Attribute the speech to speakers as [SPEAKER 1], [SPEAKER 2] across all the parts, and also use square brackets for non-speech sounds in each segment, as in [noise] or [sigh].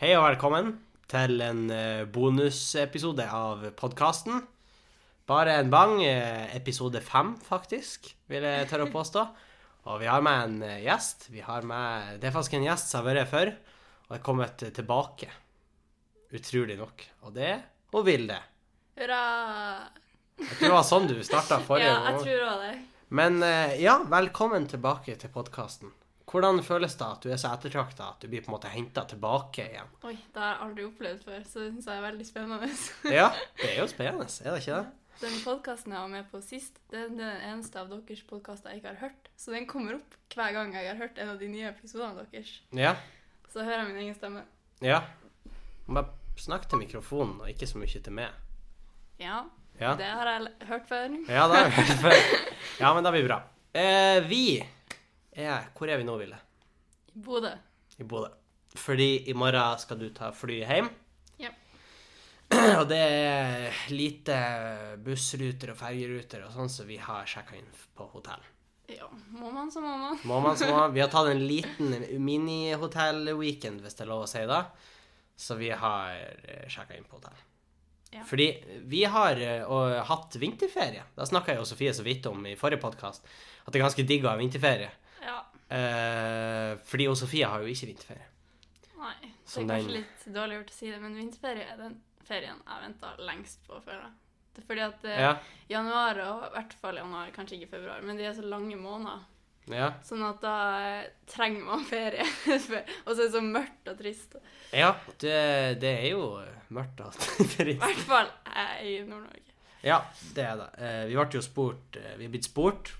[SPEAKER 1] Hei og velkommen til en eh, bonusepisode av podkasten. Bare en bang. eh, Episode fem, faktisk, vil jeg tørre å påstå. Og vi har med en eh, gjest. Vi har med, det er faktisk en gjest som har vært her før, og er kommet eh, tilbake. Utrolig nok. Og det er hun Vilde.
[SPEAKER 2] Hurra!
[SPEAKER 1] Jeg tror det var sånn du
[SPEAKER 2] [laughs]
[SPEAKER 1] starta forrige
[SPEAKER 2] ja, jeg
[SPEAKER 1] gang.
[SPEAKER 2] tror òg det.
[SPEAKER 1] Men eh, ja, velkommen tilbake til podkasten. Hvordan føles det at du er så ettertrakta at du blir på en måte henta tilbake igjen?
[SPEAKER 2] Oi, det har jeg aldri opplevd før, så det syns jeg er veldig
[SPEAKER 1] [laughs]
[SPEAKER 2] spennende.
[SPEAKER 1] Ja, det er jo spennende, er det ikke det?
[SPEAKER 2] Den podkasten jeg var med på sist, det er den eneste av deres podkaster jeg ikke har hørt. Så den kommer opp hver gang jeg har hørt en av de nye episodene deres.
[SPEAKER 1] Ja.
[SPEAKER 2] Så hører jeg min egen stemme.
[SPEAKER 1] ja. Bare snakk til mikrofonen, og ikke så mye til meg.
[SPEAKER 2] Ja,
[SPEAKER 1] Ja,
[SPEAKER 2] det har jeg l- hørt før.
[SPEAKER 1] ja, da, ja men det blir bra. Eh, vi er Hvor er vi nå, Ville?
[SPEAKER 2] I Bodø.
[SPEAKER 1] I Bodø. Fordi i morgen skal du ta flyet hjem. [clears throat]
[SPEAKER 2] Ja.
[SPEAKER 1] Og det er lite bussruter og fergeruter og sånn, så vi har sjekka inn på hotell.
[SPEAKER 2] Ja, må man, så må man.
[SPEAKER 1] Må man, så må man. Vi har tatt en liten minihotell-weekend, hvis det er lov å si det. Så vi har sjekka inn på hotell.
[SPEAKER 2] Ja.
[SPEAKER 1] Fordi vi har eh, og, hatt vinterferie. Da snakka jo Sofie så vidt om i forrige podkast at det er ganske digg å ha vinterferie.
[SPEAKER 2] Ja.
[SPEAKER 1] Eh, fordi hun Sofie har jo ikke vinterferie.
[SPEAKER 2] Nei. Det
[SPEAKER 1] Som
[SPEAKER 2] er
[SPEAKER 1] den-
[SPEAKER 2] kanskje litt dårlig gjort å si det, men vinterferie er den ferien jeg venta lengst på, føler jeg. Det er Fordi at eh,
[SPEAKER 1] Ja.
[SPEAKER 2] januar, og i hvert fall januar, kanskje ikke februar, men de er så lange måneder.
[SPEAKER 1] ja.
[SPEAKER 2] Sånn at da eh, trenger man ferie. [laughs] og så er det så mørkt og trist. I
[SPEAKER 1] ja det, det er jo mørkt og [laughs] trist.
[SPEAKER 2] hvert fall jeg er i Nord-Norge.
[SPEAKER 1] Ja, det er det. Eh, vi ble jo spurt eh, Vi er blitt spurt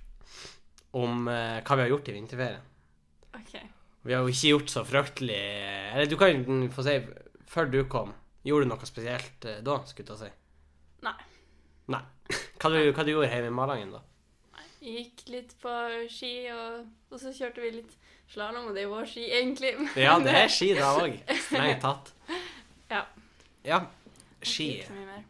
[SPEAKER 1] om eh, hva vi har gjort i vinterferien.
[SPEAKER 2] OK.
[SPEAKER 1] Vi har jo ikke gjort så fryktelig Eller du kan jo få si Før du kom, gjorde du noe spesielt eh, da, skulle jeg til å si?
[SPEAKER 2] Nei.
[SPEAKER 1] Nei. [laughs] Hva du, hva du gjorde hjemme i Malangen, da?
[SPEAKER 2] Jeg gikk litt på ski, og, og så kjørte vi litt slalåm, og det er vår ski, egentlig. [laughs] men
[SPEAKER 1] Ja, det er ski, da òg. Strengt tatt.
[SPEAKER 2] Ja.
[SPEAKER 1] Ja.
[SPEAKER 2] det
[SPEAKER 1] Ski.
[SPEAKER 2] er ikke så mye mer.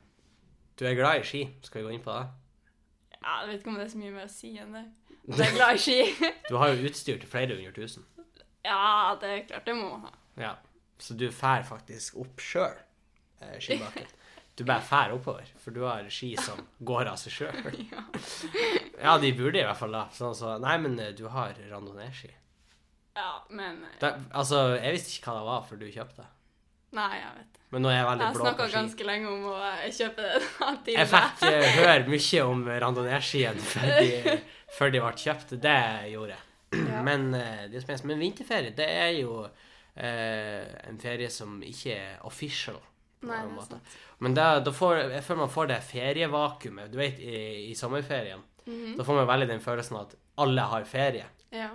[SPEAKER 1] Du er glad i ski. Skal vi gå inn på det?
[SPEAKER 2] Ja, jeg vet ikke om det er så mye mer å si enn det. Men jeg er glad i ski. [laughs]
[SPEAKER 1] Du har jo utstyr til flere hundre tusen.
[SPEAKER 2] ja, det er klart det må man ha. [laughs]
[SPEAKER 1] Ja. Så du fær faktisk opp sjøl eh, skibakken. Du bare fær oppover, for du har ski som går av seg sjøl.
[SPEAKER 2] Ja.
[SPEAKER 1] Ja, de burde i hvert fall da. Sånn så, nei, men eh, du har randonee-ski.
[SPEAKER 2] ja, men eh,
[SPEAKER 1] Det- Altså, jeg visste ikke hva det var før du kjøpte.
[SPEAKER 2] Nei, jeg vet det.
[SPEAKER 1] Men nå er jeg veldig
[SPEAKER 2] Jeg
[SPEAKER 1] blå
[SPEAKER 2] snakka
[SPEAKER 1] på ski.
[SPEAKER 2] ganske lenge om å eh, kjøpe det. da, til
[SPEAKER 1] Jeg
[SPEAKER 2] meg.
[SPEAKER 1] fikk eh, høre mye om randonee-skien før, de- før de ble kjøpt. Det gjorde jeg.
[SPEAKER 2] Ja.
[SPEAKER 1] Men, eh, det er spennende. men vinterferie, det er jo eh, en ferie som ikke er official. på
[SPEAKER 2] Nei,
[SPEAKER 1] en
[SPEAKER 2] det er
[SPEAKER 1] måte.
[SPEAKER 2] sant.
[SPEAKER 1] Men da, da får, jeg føler man får det ferievakuumet. Du vet, i, i sommerferien,
[SPEAKER 2] Mhm.
[SPEAKER 1] da får man veldig den følelsen at alle har ferie.
[SPEAKER 2] Ja.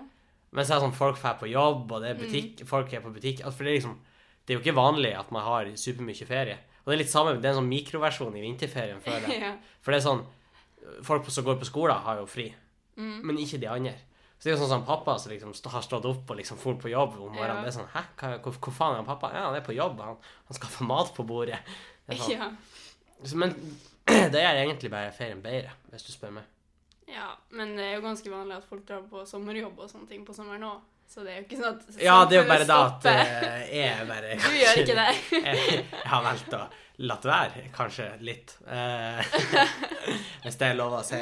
[SPEAKER 1] Men så er det sånn folk drar på jobb, og det er butikk,
[SPEAKER 2] Mm.
[SPEAKER 1] folk er på butikk. Altså, for det er liksom Det er jo ikke vanlig at man har supermye ferie. Og det er litt samme, det er en sånn mikroversjon i vinterferien før
[SPEAKER 2] [laughs]
[SPEAKER 1] det.
[SPEAKER 2] ja.
[SPEAKER 1] For det er sånn Folk som går på skolen, har jo fri.
[SPEAKER 2] Mm.
[SPEAKER 1] Men ikke de andre. Så det er jo sånn som pappa som liksom st- har stått opp og liksom for på jobb om morgenen.
[SPEAKER 2] Ja.
[SPEAKER 1] Det er sånn Hæ, hva, hvor, hvor faen er han pappa? Ja, han er på jobb. Han, han skal få mat på bordet. Det er sånn.
[SPEAKER 2] Ja.
[SPEAKER 1] Så, men [clears throat] det gjør egentlig bare ferien bedre, hvis du spør meg.
[SPEAKER 2] ja. Men det er jo ganske vanlig at folk drar på sommerjobb og sånne ting på sommeren òg. Så det er jo ikke sånn at
[SPEAKER 1] [laughs] Ja, det er jo bare
[SPEAKER 2] samfunnet
[SPEAKER 1] det at
[SPEAKER 2] stopper.
[SPEAKER 1] eh, jeg bare
[SPEAKER 2] [laughs] Du gjør
[SPEAKER 1] [laughs]
[SPEAKER 2] ikke det. [laughs]
[SPEAKER 1] jeg, jeg har valgt å latt være, kanskje litt. Eh, [laughs] hvis det er lov å si.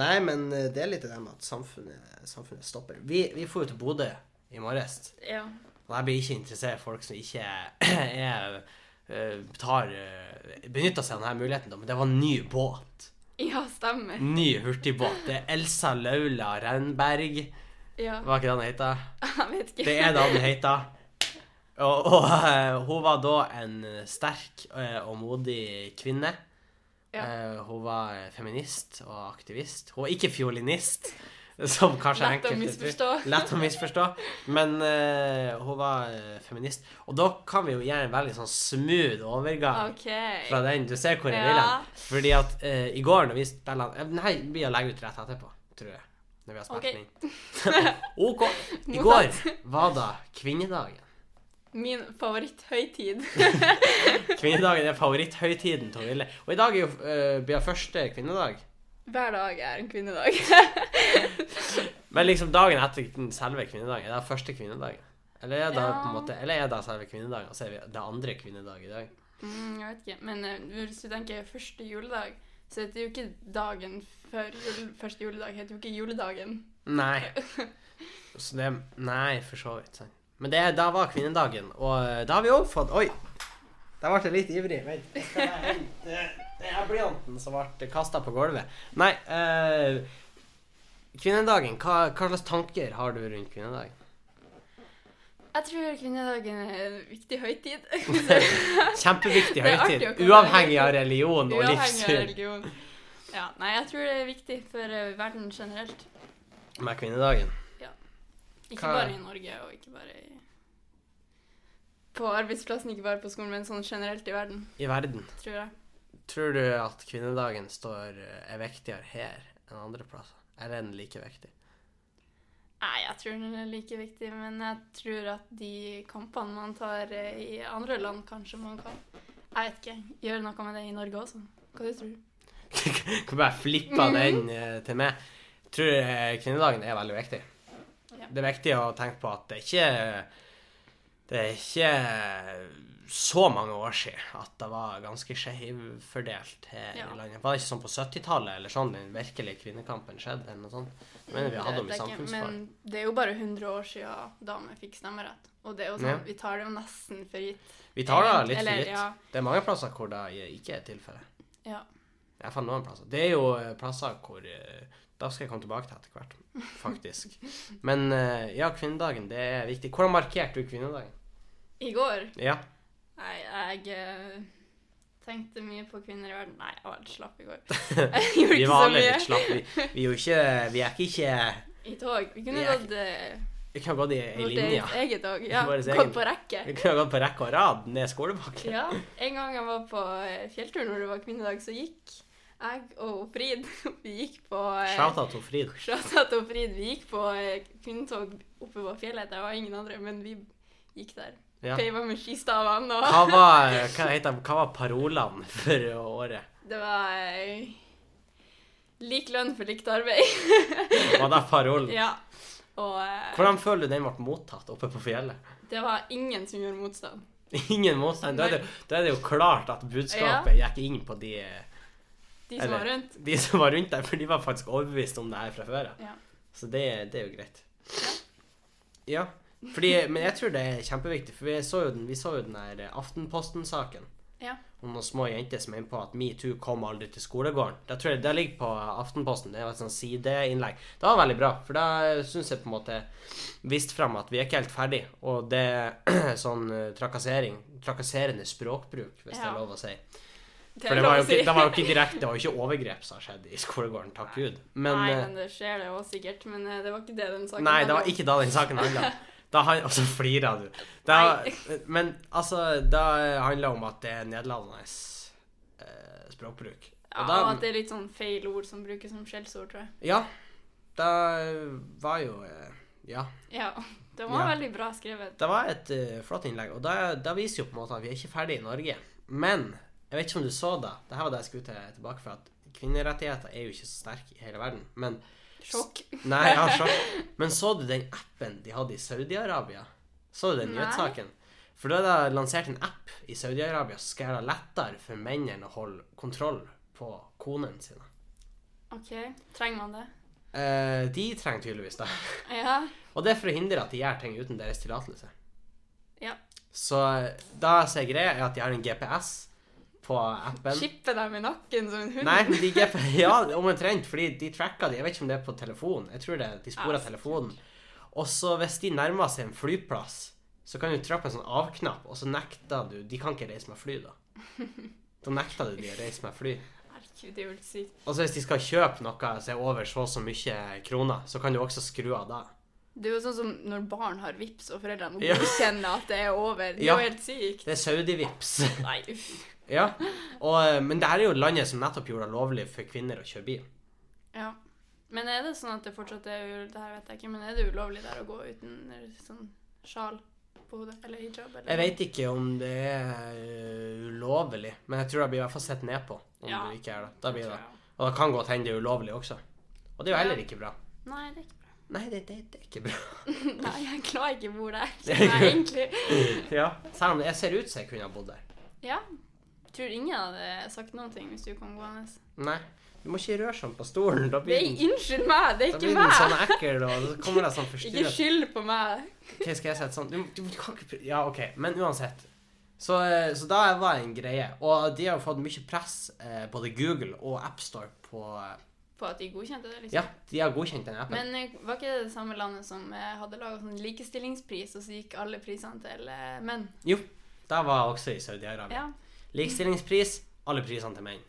[SPEAKER 1] Nei, men eh, det er litt det med at samfunnet, samfunnet stopper. Vi, vi får jo til Bodø i morges,
[SPEAKER 2] Ja.
[SPEAKER 1] og jeg blir ikke interessert i folk som ikke [clears throat] er, eh, tar, eh, benytter seg av denne muligheten, da. men det var en ny båt.
[SPEAKER 2] ja, stemmer.
[SPEAKER 1] Ny hurtigbåt. Det er Elsa Laula Renberg.
[SPEAKER 2] Ja.
[SPEAKER 1] Hva er det han heter?
[SPEAKER 2] [laughs] Jeg vet ikke.
[SPEAKER 1] Det er det han heter. Og, og eh, hun var da en sterk eh, og modig kvinne.
[SPEAKER 2] Ja.
[SPEAKER 1] Eh, hun var feminist og aktivist. Hun var ikke fiolinist, [laughs] som kanskje
[SPEAKER 2] Lett å
[SPEAKER 1] enkelte
[SPEAKER 2] misforstå.
[SPEAKER 1] tror. Lett å misforstå. Men eh, hun var eh, feminist. Og da kan vi jo gjøre en veldig sånn smooth overgang
[SPEAKER 2] OK.
[SPEAKER 1] fra den. Du ser hvor jeg
[SPEAKER 2] Ja.
[SPEAKER 1] vil hen. Fordi at eh, i går når vi spilte Nei, vi blir å legge ut rett etterpå, tror jeg. Når vi har spilt
[SPEAKER 2] Ok. [laughs]
[SPEAKER 1] den inn. OK. I går var da kvinnedagen.
[SPEAKER 2] Min
[SPEAKER 1] [laughs]
[SPEAKER 2] favoritthøytid. [laughs]
[SPEAKER 1] Kvinnedagen er favoritthøytiden til Ville. Og i dag er jo eh, blir første kvinnedag.
[SPEAKER 2] Hver dag er en kvinnedag. [laughs]
[SPEAKER 1] Men liksom dagen etter den selve kvinnedagen er det første kvinnedagen. Eller er det
[SPEAKER 2] Ja.
[SPEAKER 1] på en måte Eller er det selve kvinnedagen? Og så er vi det er andre kvinnedag i dag.
[SPEAKER 2] Mm, jeg vet ikke. Men eh, hvis du tenker første juledag, så heter det jo ikke dagen før jul, første juledag. heter jo ikke juledagen.
[SPEAKER 1] Nei. Så det Nei, for så vidt. Sant. Men det, da var kvinnedagen, og eh, da har vi òg fått Oi! Da ble jeg litt ivrig. Vent. jeg skal bare hente, eh, Det er blyanten som ble kasta på gulvet. Nei eh, Kvinnedagen. Hva, hva slags tanker har du rundt kvinnedagen?
[SPEAKER 2] [laughs] Jeg tror kvinnedagen er en viktig
[SPEAKER 1] [laughs]
[SPEAKER 2] høytid. [laughs]
[SPEAKER 1] Kjempeviktig
[SPEAKER 2] Det er artig
[SPEAKER 1] høytid.
[SPEAKER 2] å komme
[SPEAKER 1] Uavhengig av religion og
[SPEAKER 2] Uavhengig av
[SPEAKER 1] livssyn
[SPEAKER 2] religion. Ja, nei, jeg tror det er viktig for eh, verden generelt.
[SPEAKER 1] med kvinnedagen.
[SPEAKER 2] Ikke
[SPEAKER 1] Hva-
[SPEAKER 2] bare i Norge, og ikke bare i på arbeidsplassen, ikke bare på skolen, men sånn generelt i verden,
[SPEAKER 1] I verden.
[SPEAKER 2] tror jeg.
[SPEAKER 1] Tror du at kvinnedagen står, eh, er viktigere her enn andre plasser? Eller er den like viktig?
[SPEAKER 2] Nei, jeg tror den er like viktig, men jeg tror at de kampene man tar eh, i andre land, kanskje man kan Jeg vet ikke. Gjøre noe med det i Norge også. Hva du tror du?
[SPEAKER 1] [laughs] kan bare flippe
[SPEAKER 2] Mhm.
[SPEAKER 1] den eh, til meg. Jeg tror eh, kvinnedagen er veldig viktig.
[SPEAKER 2] Ja.
[SPEAKER 1] Det er viktig å tenke på at det er ikke Det er ikke så mange år siden at det var ganske skjevfordelt her
[SPEAKER 2] Ja.
[SPEAKER 1] i landet. Var det ikke sånn på 70-tallet eller sånn den virkelige kvinnekampen skjedde? eller noe sånt? Jeg mener vi
[SPEAKER 2] Mm, Det
[SPEAKER 1] hadde om
[SPEAKER 2] vet
[SPEAKER 1] i
[SPEAKER 2] jeg ikke,
[SPEAKER 1] samfunnsfag.
[SPEAKER 2] Men det er jo bare 100 år siden damer fikk stemmerett. Og det er jo sånn,
[SPEAKER 1] Ja.
[SPEAKER 2] vi tar det jo nesten for gitt.
[SPEAKER 1] Vi tar det
[SPEAKER 2] Eller-
[SPEAKER 1] litt for
[SPEAKER 2] eller,
[SPEAKER 1] gitt.
[SPEAKER 2] ja.
[SPEAKER 1] Det er mange plasser hvor det ikke er tilfellet.
[SPEAKER 2] Ja.
[SPEAKER 1] Jeg fant noen plasser. Det er jo eh, plasser hvor eh, Da skal jeg komme tilbake til etter hvert, faktisk. Men eh, ja, kvinnedagen, det er viktig. Hvordan markerte du kvinnedagen?
[SPEAKER 2] I går
[SPEAKER 1] Ja.
[SPEAKER 2] Nei, jeg eh, tenkte mye på kvinner i verden. Nei, jeg var litt slapp
[SPEAKER 1] [laughs]
[SPEAKER 2] i går. Jeg gjorde
[SPEAKER 1] Vi
[SPEAKER 2] ikke
[SPEAKER 1] var
[SPEAKER 2] så
[SPEAKER 1] alle
[SPEAKER 2] mye.
[SPEAKER 1] litt slappe. Vi, vi er jo ikke Vi er ikke ikke
[SPEAKER 2] I tog. Vi kunne
[SPEAKER 1] Vi er
[SPEAKER 2] gått eh,
[SPEAKER 1] Vi kunne ha gått i ei
[SPEAKER 2] vårt
[SPEAKER 1] linje.
[SPEAKER 2] eget-
[SPEAKER 1] [laughs]
[SPEAKER 2] eget tog. Ja,
[SPEAKER 1] Vårt eget.
[SPEAKER 2] gått på rekke.
[SPEAKER 1] Vi kunne ha gått på [laughs] rekke og rad ned skolebakken.
[SPEAKER 2] Ja, en gang jeg var på eh, fjelltur når det var kvinnedag, så gikk jeg og Frid [laughs] Vi gikk på eh,
[SPEAKER 1] Shout-out til Frid.
[SPEAKER 2] Shoutout og Frid. Vi gikk på eh, kvinnetog oppe på fjellet. Det var ingen andre, men vi gikk der.
[SPEAKER 1] Ja.
[SPEAKER 2] Peiva med skistavene og
[SPEAKER 1] Hva var, hva, heter, hva var parolene for året?
[SPEAKER 2] [laughs] Det var eh, lik lønn for likt arbeid.
[SPEAKER 1] Var det parolen?
[SPEAKER 2] ja. Og eh,
[SPEAKER 1] Hvordan føler du den ble mottatt oppe på fjellet?
[SPEAKER 2] det var ingen som gjorde motstand.
[SPEAKER 1] Ingen motstand. Da er det, da er det jo klart at budskapet gikk inn på de eh,
[SPEAKER 2] De som var
[SPEAKER 1] Eller-
[SPEAKER 2] rundt.
[SPEAKER 1] De som var rundt deg, for de var faktisk overbevist om det her fra før.
[SPEAKER 2] Ja.
[SPEAKER 1] Så det, det er jo greit. Ja. Fordi, men jeg tror det er kjempeviktig, for vi så jo den, vi så jo den her Aftenposten-saken.
[SPEAKER 2] Ja.
[SPEAKER 1] Om noen små jenter som er inne på at metoo kom aldri til skolegården. Da tror jeg Det ligger på Aftenposten. Det var et sånn sideinnlegg. Det var veldig bra, for da syns jeg på en måte viste fram at vi er ikke helt ferdig, og det er [clears throat] sånn eh, trakassering, trakasserende språkbruk, hvis det
[SPEAKER 2] Ja.
[SPEAKER 1] er lov å si.
[SPEAKER 2] Det
[SPEAKER 1] For
[SPEAKER 2] er
[SPEAKER 1] det
[SPEAKER 2] lov
[SPEAKER 1] var, jo
[SPEAKER 2] å
[SPEAKER 1] ikke,
[SPEAKER 2] si.
[SPEAKER 1] det var jo
[SPEAKER 2] [laughs]
[SPEAKER 1] ikke direkte, det var jo ikke overgrep som har skjedd i skolegården, takk gud. Men,
[SPEAKER 2] Nei,
[SPEAKER 1] eh,
[SPEAKER 2] men det skjer det òg sikkert. Men eh, det var ikke det den saken
[SPEAKER 1] nei, det
[SPEAKER 2] handlet
[SPEAKER 1] var
[SPEAKER 2] om.
[SPEAKER 1] ikke da den saken handla.
[SPEAKER 2] [laughs]
[SPEAKER 1] Da han, og så flirer du. Da, men altså, da handler det om at det er nederlandende eh, språkbruk.
[SPEAKER 2] Ja,
[SPEAKER 1] Og
[SPEAKER 2] og
[SPEAKER 1] da,
[SPEAKER 2] at det er litt sånn feil ord som brukes som skjellsord, tror jeg.
[SPEAKER 1] ja, da var jo eh, Ja.
[SPEAKER 2] Ja, det var
[SPEAKER 1] Ja.
[SPEAKER 2] veldig bra skrevet.
[SPEAKER 1] Det var et eh, flott innlegg, og da, da viser jo på en måte at vi er ikke ferdig i Norge. Men jeg vet ikke om du så det. Dette var det jeg skulle til, tilbake for, at kvinnerettigheter er jo ikke så sterke i hele verden. Men
[SPEAKER 2] Sjokk.
[SPEAKER 1] Nei, jeg har sjokk. Men så du den appen de hadde i Saudi-Arabia? Så du den
[SPEAKER 2] Nei.
[SPEAKER 1] nyhetssaken? For da er det lansert en app i Saudi-Arabia som skal gjøre det lettere for mennene å holde kontroll på konene sine.
[SPEAKER 2] OK, trenger man det?
[SPEAKER 1] Eh, de trenger tydeligvis det.
[SPEAKER 2] Ja.
[SPEAKER 1] Og det er for å hindre at de gjør ting uten deres tillatelse.
[SPEAKER 2] Ja.
[SPEAKER 1] Så eh, da som er greia, er at de har en GPS på appen.
[SPEAKER 2] Chippe dem i nakken som en hund?
[SPEAKER 1] Nei, men de GP, ja, omtrent, fordi de tracker de, jeg vet ikke om det er på telefon, jeg tror det, er- de sporer
[SPEAKER 2] Ja, sikkert.
[SPEAKER 1] telefonen. Og så hvis de nærmer seg en flyplass, så kan du trykke på en sånn avknapp, og så nekter du, de kan ikke reise med fly da. Da nekter du de å reise med fly.
[SPEAKER 2] Herregud, det er jo helt sykt.
[SPEAKER 1] Og så hvis de skal kjøpe noe som er over så og så mye kroner, så kan du også skru av det.
[SPEAKER 2] Det er jo sånn som når barn har vips, og foreldrene
[SPEAKER 1] Ja.
[SPEAKER 2] godkjenner at det er over. Det er
[SPEAKER 1] Ja.
[SPEAKER 2] jo helt sykt.
[SPEAKER 1] Det er Saudi-vips. [laughs]
[SPEAKER 2] Nei, uff.
[SPEAKER 1] ja, og, men det her er jo landet som nettopp gjorde det lovlig for kvinner å kjøre bil.
[SPEAKER 2] Ja. Men er det sånn at det fortsatt er jo, Det her vet jeg ikke, men er det ulovlig der å gå uten sånn sjal på hodet? Eller hijab? Eller
[SPEAKER 1] Jeg vet ikke om det er øh, ulovlig, men jeg tror det blir i hvert fall sett ned på om
[SPEAKER 2] Ja,
[SPEAKER 1] du ikke er det. Da blir
[SPEAKER 2] tror
[SPEAKER 1] det.
[SPEAKER 2] jeg.
[SPEAKER 1] Og det kan godt hende det er ulovlig også. Og det er jo
[SPEAKER 2] Ja.
[SPEAKER 1] heller ikke bra.
[SPEAKER 2] Nei, det er ikke bra. [laughs]
[SPEAKER 1] Nei, det, det, det er ikke bra.
[SPEAKER 2] Nei, jeg er glad jeg ikke bor der. Nei, egentlig.
[SPEAKER 1] ja. Selv om jeg ser ut som jeg kunne ha bodd der.
[SPEAKER 2] Ja. Tror ingen hadde sagt noen ting hvis du kom gående.
[SPEAKER 1] Nei. Du må ikke røre sånn på stolen. Da
[SPEAKER 2] Det
[SPEAKER 1] blir
[SPEAKER 2] er,
[SPEAKER 1] den,
[SPEAKER 2] unnskyld meg, det er
[SPEAKER 1] da
[SPEAKER 2] ikke
[SPEAKER 1] blir den sånn
[SPEAKER 2] meg!
[SPEAKER 1] ekkel, og så kommer det sånn
[SPEAKER 2] Ikke
[SPEAKER 1] forstyrret
[SPEAKER 2] skyld på meg.
[SPEAKER 1] Ok, skal jeg sette sånn du, du, du kan ikke pr- Ja, OK. Men uansett. Så, eh, så da var det en greie. Og de har jo fått mye press, eh, både Google og AppStore, på eh,
[SPEAKER 2] På at de godkjente det, liksom.
[SPEAKER 1] Ja, de har godkjent den appen.
[SPEAKER 2] Men eh, var ikke det det samme landet som eh, hadde laga sånn likestillingspris, og så gikk alle prisene til eh, menn?
[SPEAKER 1] jo, da var jeg også i Saudi-Arabia.
[SPEAKER 2] Ja.
[SPEAKER 1] Likestillingspris, alle prisene til menn.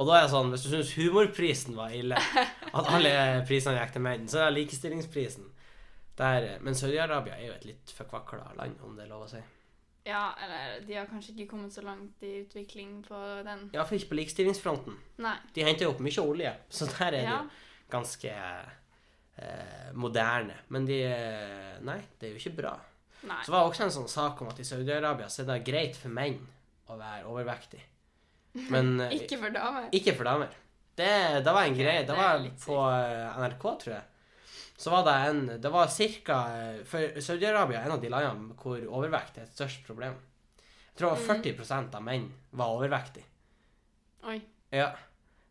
[SPEAKER 1] Og da er det sånn, hvis du syns humorprisen var ille, at alle prisene gikk til menn, så er det likestillingsprisen. Der, eh, men Saudi-Arabia er jo et litt forkvakla land, om det er lov å si.
[SPEAKER 2] ja, eller de har kanskje ikke kommet så langt i utvikling på den.
[SPEAKER 1] Iallfall ikke på likestillingsfronten.
[SPEAKER 2] Nei.
[SPEAKER 1] De henter jo opp mye olje, så der er det
[SPEAKER 2] Ja.
[SPEAKER 1] jo ganske eh, moderne. Men de eh, Nei, det er jo ikke bra.
[SPEAKER 2] Nei.
[SPEAKER 1] Så var det også en sånn sak om at i Saudi-Arabia så er det greit for menn å være overvektig. Men eh,
[SPEAKER 2] Ikke for damer.
[SPEAKER 1] ikke for damer. Det, det var en greie. Det
[SPEAKER 2] det er
[SPEAKER 1] var
[SPEAKER 2] litt
[SPEAKER 1] på eh, NRK, tror jeg. Så var det en Det var cirka eh, For Saudi-Arabia er en av de landene hvor overvekt er et størst problem. Jeg tror
[SPEAKER 2] Mm.
[SPEAKER 1] det var 40 av menn var overvektige.
[SPEAKER 2] Oi.
[SPEAKER 1] Ja.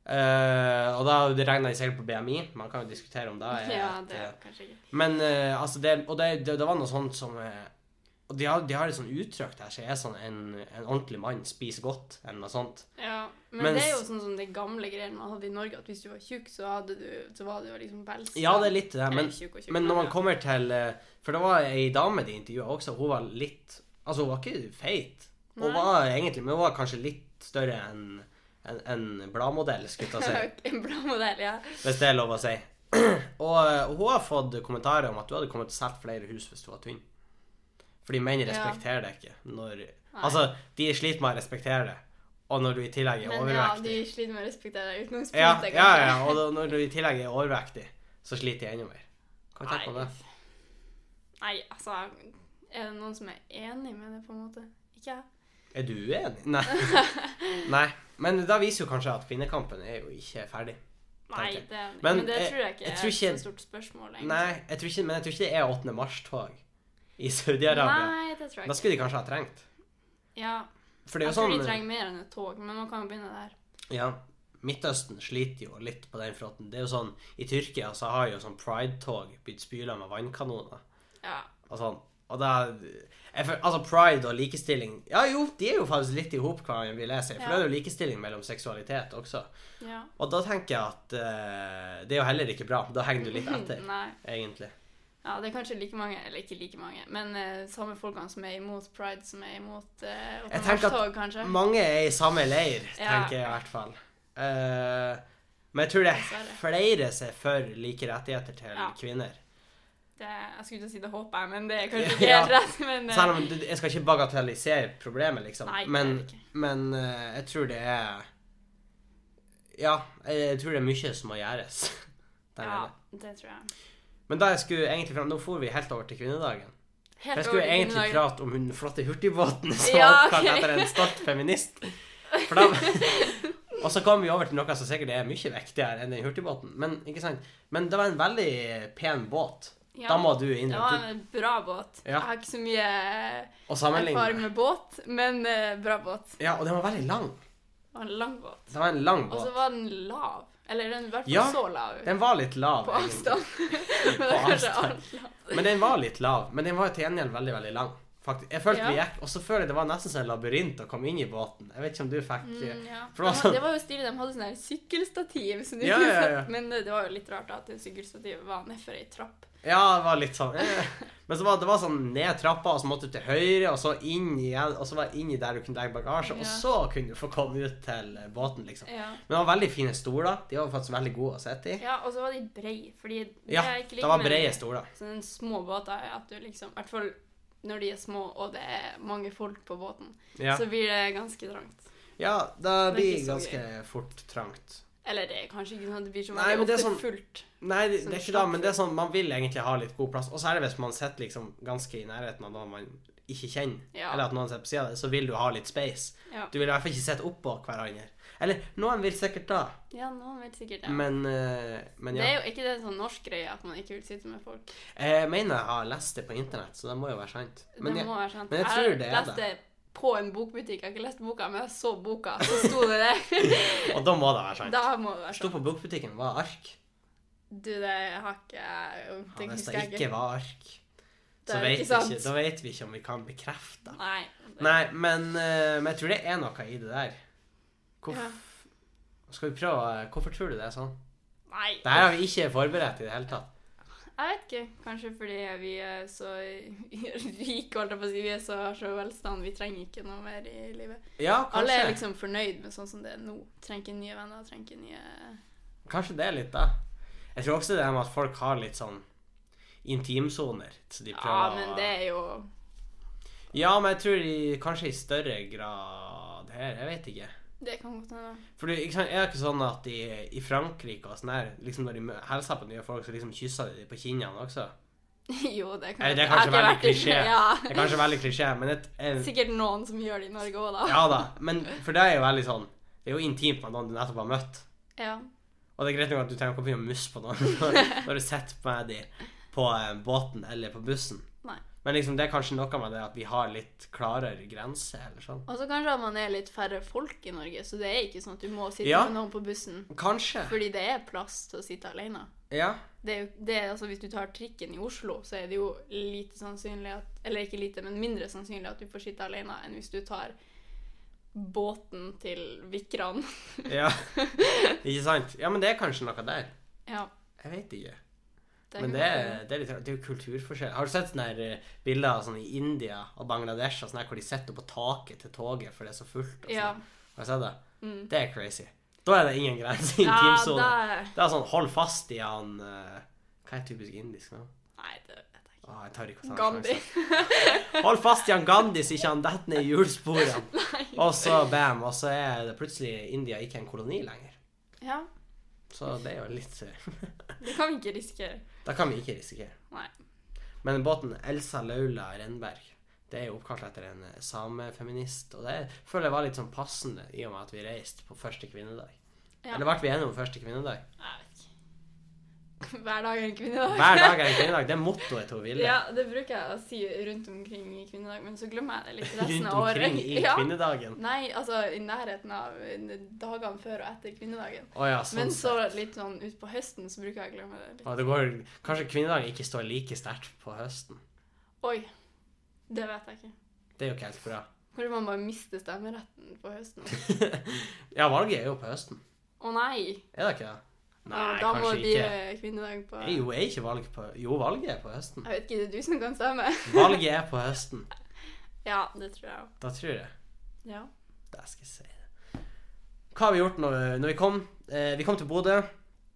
[SPEAKER 1] Eh, og da regna jeg sikkert på BMI. Man kan jo diskutere om det er
[SPEAKER 2] Ja,
[SPEAKER 1] et,
[SPEAKER 2] det
[SPEAKER 1] eh,
[SPEAKER 2] er kanskje ikke
[SPEAKER 1] Men eh, altså det, Og det, det, det var noe sånt som eh, Og de har, de har et sånt uttrykk der som er sånn en, en ordentlig mann spiser godt, eller noe sånt.
[SPEAKER 2] Ja, men
[SPEAKER 1] Mens-
[SPEAKER 2] det er jo sånn som de gamle greiene man hadde i Norge, at hvis du var tjukk, så, hadde du, så var det jo liksom velstand.
[SPEAKER 1] Ja, det er litt det, men,
[SPEAKER 2] Eller tjukk og tjukk,
[SPEAKER 1] men når man
[SPEAKER 2] [laughs] ja.
[SPEAKER 1] kommer til eh, For det var ei dame de intervjua også, hun var litt Altså, hun var ikke feit, hun
[SPEAKER 2] Nei.
[SPEAKER 1] var egentlig, men hun var kanskje litt større enn en, en bladmodell, skulle
[SPEAKER 2] [laughs]
[SPEAKER 1] jeg til å si.
[SPEAKER 2] En bra modell, ja.
[SPEAKER 1] Hvis det er lov å si. [clears throat] Og eh, hun har fått kommentarer om at du hadde kommet til å selge flere hus hvis du var tynn. Fordi menn respekterer deg ikke når Altså, de sliter med å respektere det, og når du i tillegg er
[SPEAKER 2] Men ja, de
[SPEAKER 1] overvektig
[SPEAKER 2] sliter med å respektere deg uten å
[SPEAKER 1] ja,
[SPEAKER 2] spørre deg,
[SPEAKER 1] ja,
[SPEAKER 2] kanskje.
[SPEAKER 1] ja, og da, når du i tillegg er overvektig, så sliter de enda mer. Hva tenker du om det?
[SPEAKER 2] Nei, altså Er det noen som er enig med det, på en måte? Ikke jeg.
[SPEAKER 1] Er du uenig?
[SPEAKER 2] [laughs]
[SPEAKER 1] Nei. Nei. Men da viser jo kanskje at kvinnekampen er jo ikke ferdig.
[SPEAKER 2] Nei,
[SPEAKER 1] Tenker jeg.
[SPEAKER 2] det, men,
[SPEAKER 1] Men
[SPEAKER 2] det
[SPEAKER 1] jeg-
[SPEAKER 2] tror jeg ikke
[SPEAKER 1] jeg tror
[SPEAKER 2] er
[SPEAKER 1] ikke-
[SPEAKER 2] et så stort spørsmål, egentlig.
[SPEAKER 1] Nei, jeg tror ikke, men jeg tror ikke det er 8. mars-tog i Saudi-Arabia.
[SPEAKER 2] Nei, det
[SPEAKER 1] Da
[SPEAKER 2] tror jeg ikke.
[SPEAKER 1] skulle de kanskje ha trengt.
[SPEAKER 2] Ja,
[SPEAKER 1] For det
[SPEAKER 2] jeg
[SPEAKER 1] er jo
[SPEAKER 2] tror
[SPEAKER 1] sånn
[SPEAKER 2] de Altså, trenger mer enn et tog, men man kan jo begynne der.
[SPEAKER 1] Ja, Midtøsten sliter jo litt på den fronten. Det er jo sånn, I Tyrkia så har jo sånn pride-tog blitt spyla med vannkanoner
[SPEAKER 2] Ja.
[SPEAKER 1] og sånn. Og da, jeg, føl- altså Pride og likestilling Ja jo, de er jo faktisk litt i hop, hverandre, vil jeg si. For
[SPEAKER 2] Ja.
[SPEAKER 1] det er jo likestilling mellom seksualitet også.
[SPEAKER 2] ja.
[SPEAKER 1] Og da tenker jeg at eh, det er jo heller ikke bra. Da henger du litt
[SPEAKER 2] [laughs]
[SPEAKER 1] etter,
[SPEAKER 2] Nei.
[SPEAKER 1] egentlig.
[SPEAKER 2] Ja, det er kanskje like mange, eller ikke like mange, men eh, samme folkene som er imot pride, som er imot uh,
[SPEAKER 1] Jeg tenker at
[SPEAKER 2] tog, kanskje.
[SPEAKER 1] Mange er i samme leir,
[SPEAKER 2] Ja.
[SPEAKER 1] tenker jeg i hvert fall. Eh, men jeg tror det er
[SPEAKER 2] Dessverre.
[SPEAKER 1] flere som er for like rettigheter til
[SPEAKER 2] Ja.
[SPEAKER 1] kvinner.
[SPEAKER 2] Det, jeg skulle til å si det håper jeg, men det
[SPEAKER 1] [laughs]
[SPEAKER 2] er kanskje ikke
[SPEAKER 1] Ja.
[SPEAKER 2] helt rett. Men, eh,
[SPEAKER 1] Selv om det- jeg skal ikke bagatellisere problemet, liksom.
[SPEAKER 2] Nei, det er
[SPEAKER 1] men
[SPEAKER 2] det ikke.
[SPEAKER 1] men eh, jeg tror det er Ja, jeg tror det er mye som må gjøres. [laughs] Der
[SPEAKER 2] ja,
[SPEAKER 1] er det.
[SPEAKER 2] det tror jeg.
[SPEAKER 1] Men da jeg skulle egentlig fram Nå for vi helt over til kvinnedagen. For jeg
[SPEAKER 2] Helt
[SPEAKER 1] skulle
[SPEAKER 2] over til
[SPEAKER 1] egentlig
[SPEAKER 2] kvinnedagen.
[SPEAKER 1] prate om hun flotte hurtigbåten [laughs] som
[SPEAKER 2] Ja,
[SPEAKER 1] var oppkalt
[SPEAKER 2] ok.
[SPEAKER 1] etter en stolt feminist. For da
[SPEAKER 2] [laughs]
[SPEAKER 1] Og så kom vi over til noe som sikkert er mye viktigere enn den hurtigbåten. Men ikke sant? Men det var en veldig pen båt.
[SPEAKER 2] Ja.
[SPEAKER 1] Da må du inn
[SPEAKER 2] Det
[SPEAKER 1] og,
[SPEAKER 2] var en bra båt.
[SPEAKER 1] Ja.
[SPEAKER 2] Jeg har ikke så mye eh,
[SPEAKER 1] og sammenligne.
[SPEAKER 2] erfaring med båt, men eh, bra båt.
[SPEAKER 1] Ja, og den var veldig lang.
[SPEAKER 2] Det var en lang båt.
[SPEAKER 1] Det var en lang
[SPEAKER 2] Og
[SPEAKER 1] båt.
[SPEAKER 2] så var den lav. Eller den var i hvert fall
[SPEAKER 1] Ja,
[SPEAKER 2] så lav.
[SPEAKER 1] Den var litt lav.
[SPEAKER 2] på
[SPEAKER 1] egentlig. [laughs]
[SPEAKER 2] avstand. [laughs] men det er kanskje
[SPEAKER 1] avstand.
[SPEAKER 2] alt lavt.
[SPEAKER 1] Men den var litt lav. Men den var til gjengjeld veldig, veldig lang. Faktisk. Jeg følte vi
[SPEAKER 2] Ja.
[SPEAKER 1] gikk, Og så føler jeg det var nesten som en labyrint å komme inn i båten. Jeg vet ikke om du fikk
[SPEAKER 2] Mm, ja.
[SPEAKER 1] For det var
[SPEAKER 2] Ja,
[SPEAKER 1] sånn-
[SPEAKER 2] det var jo stilig. De hadde sånn her sykkelstativ. Som du
[SPEAKER 1] Ja,
[SPEAKER 2] kunne
[SPEAKER 1] ja,
[SPEAKER 2] sette-
[SPEAKER 1] ja.
[SPEAKER 2] Men eh, det det var jo litt rart da, at det sykkelstativet var nedfor ei trapp.
[SPEAKER 1] Ja, det var litt sånn eh. Men så var det var sånn ned trappa, og så måtte du til høyre, og så inn igjen, og så var jeg inni der du kunne legge bagasje, og
[SPEAKER 2] Ja.
[SPEAKER 1] så kunne du få komme ut til eh, båten, liksom.
[SPEAKER 2] Ja,
[SPEAKER 1] Men det var veldig fine stoler. De var faktisk veldig gode å sitte i.
[SPEAKER 2] ja Og så var de brei, fordi det
[SPEAKER 1] Ja,
[SPEAKER 2] er ikke like
[SPEAKER 1] det var
[SPEAKER 2] med
[SPEAKER 1] brede stoler.
[SPEAKER 2] sånne små båter. er At du liksom, I hvert fall når de er små og det er mange folk på båten,
[SPEAKER 1] Ja,
[SPEAKER 2] så blir det ganske trangt.
[SPEAKER 1] ja det
[SPEAKER 2] Det er
[SPEAKER 1] blir
[SPEAKER 2] ikke så
[SPEAKER 1] ganske fort trangt.
[SPEAKER 2] Eller det er kanskje ikke sånn at det blir så
[SPEAKER 1] Nei,
[SPEAKER 2] veldig
[SPEAKER 1] men det er
[SPEAKER 2] ofte
[SPEAKER 1] sånn-
[SPEAKER 2] fullt.
[SPEAKER 1] Nei, det,
[SPEAKER 2] Sånn
[SPEAKER 1] det er ikke det, men det er sånn, man vil egentlig ha litt god plass. Og særlig hvis man sitter liksom ganske i nærheten av noen man ikke kjenner,
[SPEAKER 2] Ja.
[SPEAKER 1] eller at noen sitter på sida av deg, så vil du ha litt space.
[SPEAKER 2] Ja.
[SPEAKER 1] Du vil i hvert fall ikke sitte oppå hverandre. Eller noen vil sikkert da,
[SPEAKER 2] ja, noen vil sikkert det.
[SPEAKER 1] men, eh, men
[SPEAKER 2] Det
[SPEAKER 1] ja.
[SPEAKER 2] er jo ikke det sånn norsk greie at man ikke vil sitte med folk.
[SPEAKER 1] Jeg mener jeg har lest det på internett, så det må jo være sant. Men
[SPEAKER 2] det
[SPEAKER 1] jeg,
[SPEAKER 2] må være sant.
[SPEAKER 1] men jeg tror det er
[SPEAKER 2] jeg har lest
[SPEAKER 1] det.
[SPEAKER 2] det på en bokbutikk. Jeg har ikke lest boka, men jeg så boka, så sto det
[SPEAKER 1] [laughs]
[SPEAKER 2] det.
[SPEAKER 1] og da må det være sant.
[SPEAKER 2] da må det være
[SPEAKER 1] Sto
[SPEAKER 2] sånn.
[SPEAKER 1] på bokbutikken var ark.
[SPEAKER 2] Du, det har ikke jeg
[SPEAKER 1] Ja,
[SPEAKER 2] Det
[SPEAKER 1] hvis
[SPEAKER 2] husker
[SPEAKER 1] det
[SPEAKER 2] jeg
[SPEAKER 1] ikke
[SPEAKER 2] ikke.
[SPEAKER 1] var ark,
[SPEAKER 2] Det
[SPEAKER 1] så
[SPEAKER 2] er
[SPEAKER 1] vet,
[SPEAKER 2] ikke
[SPEAKER 1] vi
[SPEAKER 2] sant.
[SPEAKER 1] ikke, da vet vi ikke om vi kan bekrefte.
[SPEAKER 2] Nei. det-
[SPEAKER 1] Nei, men, eh, men jeg tror det er noe i det der. Hvorf,
[SPEAKER 2] Ja.
[SPEAKER 1] Skal vi prøve eh, Hvorfor tror du det er sånn?
[SPEAKER 2] Nei.
[SPEAKER 1] Det her har vi ikke forberedt i det hele tatt.
[SPEAKER 2] Jeg vet ikke. Kanskje fordi vi er så [laughs] rike, holdt jeg på å si. Vi er så, har så velstand. Vi trenger ikke noe mer i livet.
[SPEAKER 1] Ja,
[SPEAKER 2] Alle
[SPEAKER 1] kanskje,
[SPEAKER 2] er liksom fornøyd med sånn som det er nå. Trenger ikke nye venner. Trenger ikke nye
[SPEAKER 1] kanskje det er litt, da. Jeg tror også det er med at folk har litt sånn intimsoner. Så de
[SPEAKER 2] Ja,
[SPEAKER 1] prøver
[SPEAKER 2] men
[SPEAKER 1] å-
[SPEAKER 2] det er jo
[SPEAKER 1] Ja, men jeg tror i, kanskje i større grad her, jeg vet ikke.
[SPEAKER 2] Det kan godt hende. [laughs]
[SPEAKER 1] For det ikke sant, er det ikke sånn at i, i Frankrike og sånn her, liksom når de mø- hilser på nye folk, så liksom kysser de dem på kinnene også?
[SPEAKER 2] Jo, det kan
[SPEAKER 1] Nei, det er kanskje
[SPEAKER 2] godt- Jeg har ikke
[SPEAKER 1] veldig
[SPEAKER 2] vært i-
[SPEAKER 1] klisjé. Det er
[SPEAKER 2] [laughs] Ja.
[SPEAKER 1] kanskje veldig klisjé, men et, en,
[SPEAKER 2] Sikkert noen som gjør det i Norge òg, da.
[SPEAKER 1] Ja da, men for det er jo veldig sånn Det er jo intimt med noen du nettopp har møtt.
[SPEAKER 2] Ja.
[SPEAKER 1] Og det er greit nok at du trenger ikke å begynne å musse på noen [laughs] når, når du sitter med dem på eh, båten eller på bussen.
[SPEAKER 2] Nei.
[SPEAKER 1] Men liksom, det er kanskje noe med det at vi har litt klarere grenser eller sånn.
[SPEAKER 2] Og så kanskje at man er litt færre folk i Norge, så det er ikke sånn at du må sitte
[SPEAKER 1] Ja.
[SPEAKER 2] med noen på bussen.
[SPEAKER 1] Kanskje.
[SPEAKER 2] Fordi det er plass til å sitte alene.
[SPEAKER 1] Ja.
[SPEAKER 2] det er jo, det er, altså, hvis du tar trikken i Oslo, så er det jo lite sannsynlig at Eller ikke lite, men mindre sannsynlig at du får sitte alene enn hvis du tar båten til Vikran. [laughs]
[SPEAKER 1] ja. Ikke sant? Ja, men det er kanskje noe der.
[SPEAKER 2] ja,
[SPEAKER 1] Jeg vet ikke.
[SPEAKER 2] det
[SPEAKER 1] Men
[SPEAKER 2] kan
[SPEAKER 1] det,
[SPEAKER 2] godt
[SPEAKER 1] er- det, er litt, det er jo kulturforskjell. Har du sett sånne her, eh, bilder av sånn i India og Bangladesh og sånn her, hvor de sitter oppå taket til toget for det er så fullt?
[SPEAKER 2] hende.
[SPEAKER 1] Og
[SPEAKER 2] ja.
[SPEAKER 1] sånn? Har du sett det?
[SPEAKER 2] Mm.
[SPEAKER 1] Det er crazy. Da er det ingen grenser i
[SPEAKER 2] ja,
[SPEAKER 1] intimsone.
[SPEAKER 2] da
[SPEAKER 1] Det er sånn, hold fast i han eh, Hva er typisk indisk nå?
[SPEAKER 2] Nei, det vet jeg ikke.
[SPEAKER 1] Ah, jeg tar ikke å ta en
[SPEAKER 2] Gandhi.
[SPEAKER 1] sjanse. Hold fast i han Gandhi, så ikke han detter ned i hjulsporene.
[SPEAKER 2] [laughs] Nei.
[SPEAKER 1] Og så bam, og så er det plutselig India ikke en koloni lenger.
[SPEAKER 2] Ja,
[SPEAKER 1] Så det er jo litt eh, [laughs]
[SPEAKER 2] det kan vi ikke risikere.
[SPEAKER 1] Da kan vi ikke risikere.
[SPEAKER 2] Nei.
[SPEAKER 1] Men båten Elsa Laula Renberg det er jo oppkalt etter en eh, samefeminist, og det føler jeg var litt sånn passende i og med at vi reiste på første kvinnedag.
[SPEAKER 2] Ja.
[SPEAKER 1] Eller ble vi enige om første kvinnedag?
[SPEAKER 2] Jeg vet ikke. Hver dag er en kvinnedag.
[SPEAKER 1] Hver dag er en kvinnedag. Det er mottoet til Ville.
[SPEAKER 2] Ja, det bruker jeg å si rundt omkring i kvinnedag, men så glemmer jeg det litt resten
[SPEAKER 1] Rundt
[SPEAKER 2] av året.
[SPEAKER 1] omkring i
[SPEAKER 2] [laughs] Ja.
[SPEAKER 1] kvinnedagen.
[SPEAKER 2] Nei, altså i nærheten av eh, dagene før og etter kvinnedagen.
[SPEAKER 1] Å ja, sånn
[SPEAKER 2] Men så
[SPEAKER 1] sett.
[SPEAKER 2] litt sånn utpå høsten så bruker jeg å glemme det. litt.
[SPEAKER 1] Å, det går, kanskje kvinnedagen ikke står like sterkt på høsten.
[SPEAKER 2] Oi, det vet jeg ikke.
[SPEAKER 1] Det er jo ikke helt bra. [laughs]
[SPEAKER 2] Kanskje man bare mister stemmeretten på høsten. Å
[SPEAKER 1] Ja, valget er jo på høsten.
[SPEAKER 2] nei!
[SPEAKER 1] Er det ikke det? Nei,
[SPEAKER 2] Ja, da må
[SPEAKER 1] kanskje
[SPEAKER 2] det bli
[SPEAKER 1] ikke.
[SPEAKER 2] eh, kvinnedag på
[SPEAKER 1] Nei, Jo, er ikke valg på Jo, valget er på høsten.
[SPEAKER 2] Jeg vet ikke, det er du som kan stemme. [laughs]
[SPEAKER 1] Valget er på høsten.
[SPEAKER 2] Ja, det tror jeg òg.
[SPEAKER 1] Da tror jeg
[SPEAKER 2] Ja.
[SPEAKER 1] Det skal jeg si. Hva har vi gjort når, når vi kom? Eh, vi kom til Bodø.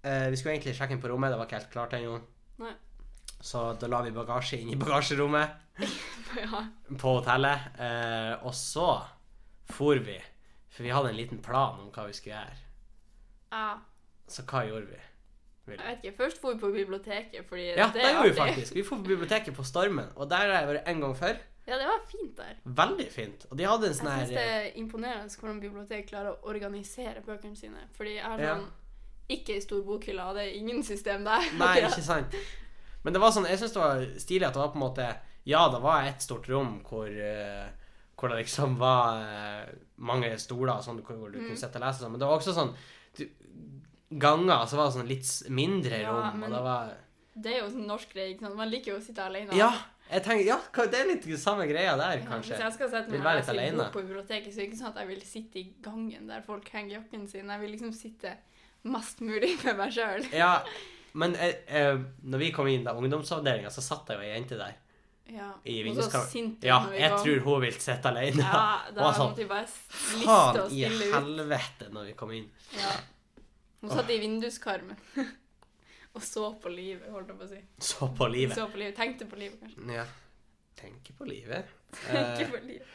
[SPEAKER 1] Eh, vi skulle egentlig sjekke inn på rommet, det var ikke helt klart ennå.
[SPEAKER 2] Nei. [laughs]
[SPEAKER 1] Så da la vi bagasje inn i [laughs] bagasjerommet.
[SPEAKER 2] ja.
[SPEAKER 1] på hotellet. Eh, og så for vi, for vi hadde en liten plan om hva vi skulle gjøre.
[SPEAKER 2] ja.
[SPEAKER 1] Så hva gjorde vi?
[SPEAKER 2] Jeg vet ikke. Først dro vi på biblioteket, fordi
[SPEAKER 1] Ja, det,
[SPEAKER 2] Eh, det er
[SPEAKER 1] gjorde vi
[SPEAKER 2] artig.
[SPEAKER 1] faktisk. Vi dro på biblioteket på Stormen, og der har jeg vært en gang før.
[SPEAKER 2] Ja, det var fint der.
[SPEAKER 1] Veldig fint. Og de hadde en
[SPEAKER 2] Jeg
[SPEAKER 1] sånn
[SPEAKER 2] syns
[SPEAKER 1] her
[SPEAKER 2] det
[SPEAKER 1] eh,
[SPEAKER 2] er imponerende hvordan bibliotek klarer å organisere bøkene sine. Fordi jeg har
[SPEAKER 1] Ja.
[SPEAKER 2] sånn ikke ei stor bokhylle, og det er ingen system der. [laughs]
[SPEAKER 1] Nei,
[SPEAKER 2] akkurat.
[SPEAKER 1] ikke sant. Men det var sånn, jeg syns det var stilig at det var på en måte Ja, det var et stort rom hvor eh, hvor det liksom var eh, mange stoler og sånn hvor hvor du
[SPEAKER 2] Mm.
[SPEAKER 1] kunne sitte og lese, og sånn. men det var også sånn du, Ganger, så var det sånn litt s- mindre
[SPEAKER 2] Ja,
[SPEAKER 1] rom,
[SPEAKER 2] men-
[SPEAKER 1] og det var
[SPEAKER 2] Det er jo sånn norsk greie. ikke sant? Man liker jo å sitte alene.
[SPEAKER 1] Ja, jeg tenker, ja, hva- det er litt samme greia der,
[SPEAKER 2] Ja,
[SPEAKER 1] kanskje.
[SPEAKER 2] Hvis jeg skal sette
[SPEAKER 1] Vil
[SPEAKER 2] meg
[SPEAKER 1] være
[SPEAKER 2] og
[SPEAKER 1] litt
[SPEAKER 2] lese en
[SPEAKER 1] alene.
[SPEAKER 2] bok på biblioteket, så er det ikke sånn at jeg vil sitte i gangen der folk henger jakken sin. Jeg vil liksom sitte mest mulig [laughs] med meg sjøl.
[SPEAKER 1] Ja, men jeg, jeg, når vi kom inn da ungdomsavdelinga, så satt det jo ei jente der
[SPEAKER 2] Ja.
[SPEAKER 1] i
[SPEAKER 2] Og så
[SPEAKER 1] vinduskarmen.
[SPEAKER 2] sint
[SPEAKER 1] Ja,
[SPEAKER 2] når vi
[SPEAKER 1] jeg
[SPEAKER 2] kom.
[SPEAKER 1] tror hun vil sitte alene.
[SPEAKER 2] Ja,
[SPEAKER 1] [laughs] Hun
[SPEAKER 2] da
[SPEAKER 1] var sånn
[SPEAKER 2] måtte vi bare liste
[SPEAKER 1] Faen
[SPEAKER 2] og
[SPEAKER 1] i
[SPEAKER 2] stille ut.
[SPEAKER 1] helvete, når vi kom inn.
[SPEAKER 2] Ja. Hun satt i vinduskarmen [laughs] og så på livet, holdt jeg på å si.
[SPEAKER 1] Så på livet.
[SPEAKER 2] Så på livet. Tenkte på livet, kanskje.
[SPEAKER 1] Ja. Tenker på livet.
[SPEAKER 2] Ikke
[SPEAKER 1] Eh,
[SPEAKER 2] på livet.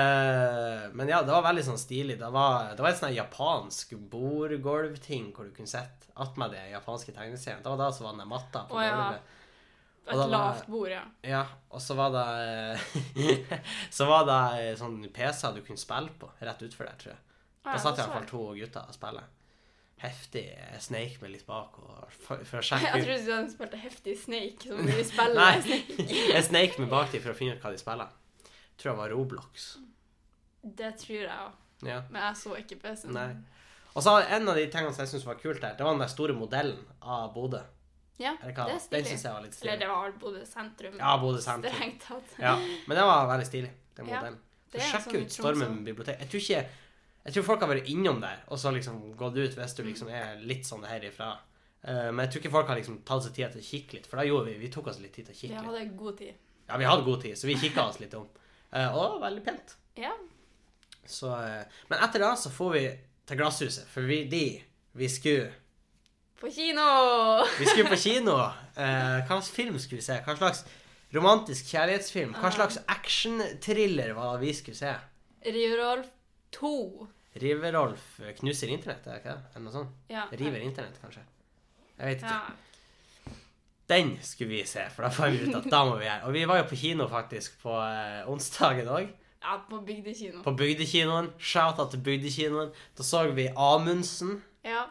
[SPEAKER 1] eh, men ja, det var veldig sånn stilig. Det var, det var et sånn her japansk bordgulvting hvor du kunne sitte attmed det japanske tegneserien. Det var da som var den der matta på
[SPEAKER 2] Å, ja.
[SPEAKER 1] gulvet.
[SPEAKER 2] Et
[SPEAKER 1] Og da var-
[SPEAKER 2] lavt bord, ja.
[SPEAKER 1] Ja, og så var det [laughs] Så var det eh, sånn PC du kunne spille på rett utfor der, tror jeg.
[SPEAKER 2] Ah,
[SPEAKER 1] Da
[SPEAKER 2] ja,
[SPEAKER 1] satt i
[SPEAKER 2] det så
[SPEAKER 1] hvert fall
[SPEAKER 2] jeg.
[SPEAKER 1] to gutter og spilte. Heftig. Jeg sneik meg litt bak og for, for å
[SPEAKER 2] Jeg
[SPEAKER 1] sjekke ut
[SPEAKER 2] trodde de spilte heftig Snake, som de spiller
[SPEAKER 1] Nei.
[SPEAKER 2] Snake.
[SPEAKER 1] [laughs] Jeg sneik meg bak dem for å finne ut hva de spiller. Tror jeg var Roblox.
[SPEAKER 2] Det tror jeg òg,
[SPEAKER 1] Ja.
[SPEAKER 2] men jeg så ikke PC-en.
[SPEAKER 1] Nei. Og så en av de tingene som jeg syntes var kult der, det var den der store modellen av Bodø.
[SPEAKER 2] Ja,
[SPEAKER 1] Eller hva?
[SPEAKER 2] det er
[SPEAKER 1] Den
[SPEAKER 2] stilig.
[SPEAKER 1] synes jeg var litt
[SPEAKER 2] Eller
[SPEAKER 1] stilig.
[SPEAKER 2] det var vel Bodø sentrum.
[SPEAKER 1] Ja, Bodø sentrum.
[SPEAKER 2] Strengt tatt.
[SPEAKER 1] Ja, men den var veldig stilig, den
[SPEAKER 2] Ja,
[SPEAKER 1] modellen.
[SPEAKER 2] det
[SPEAKER 1] Så
[SPEAKER 2] er
[SPEAKER 1] sjekk
[SPEAKER 2] sånn i
[SPEAKER 1] ut Stormen
[SPEAKER 2] Tromsø.
[SPEAKER 1] bibliotek. Jeg tror ikke Jeg tror folk har vært innom der, og så liksom gått ut, hvis du liksom er litt sånn herifra. Eh, Men jeg tror ikke folk har liksom tatt seg tid til å kikke litt, for da gjorde vi Vi tok oss litt tid til å
[SPEAKER 2] Vi
[SPEAKER 1] kikke litt.
[SPEAKER 2] hadde god tid.
[SPEAKER 1] Ja, vi hadde god tid, så vi kikka oss litt om. Eh, Og det var veldig pent.
[SPEAKER 2] Ja.
[SPEAKER 1] Så, eh, men etter det så får vi til Glasshuset, for vi, de, vi skulle
[SPEAKER 2] På kino! [laughs]
[SPEAKER 1] Vi skulle på kino. [laughs] Eh, hva slags film skulle vi se? Hva slags romantisk kjærlighetsfilm? Hva slags actionthriller var det vi skulle se?
[SPEAKER 2] Rio Rolf 2.
[SPEAKER 1] Riverolf knuser internett, er det ikke det? Eller noe sånt?
[SPEAKER 2] Ja.
[SPEAKER 1] River internett, kanskje? Jeg vet ikke.
[SPEAKER 2] Ja.
[SPEAKER 1] Den skulle vi se, for da fant vi ut at da må vi gjøre. Og vi var jo på kino faktisk på eh, onsdagen òg.
[SPEAKER 2] ja, på bygdekino.
[SPEAKER 1] På Bygdekinoen. Shout-out til Bygdekinoen. Da så vi Amundsen.
[SPEAKER 2] Ja.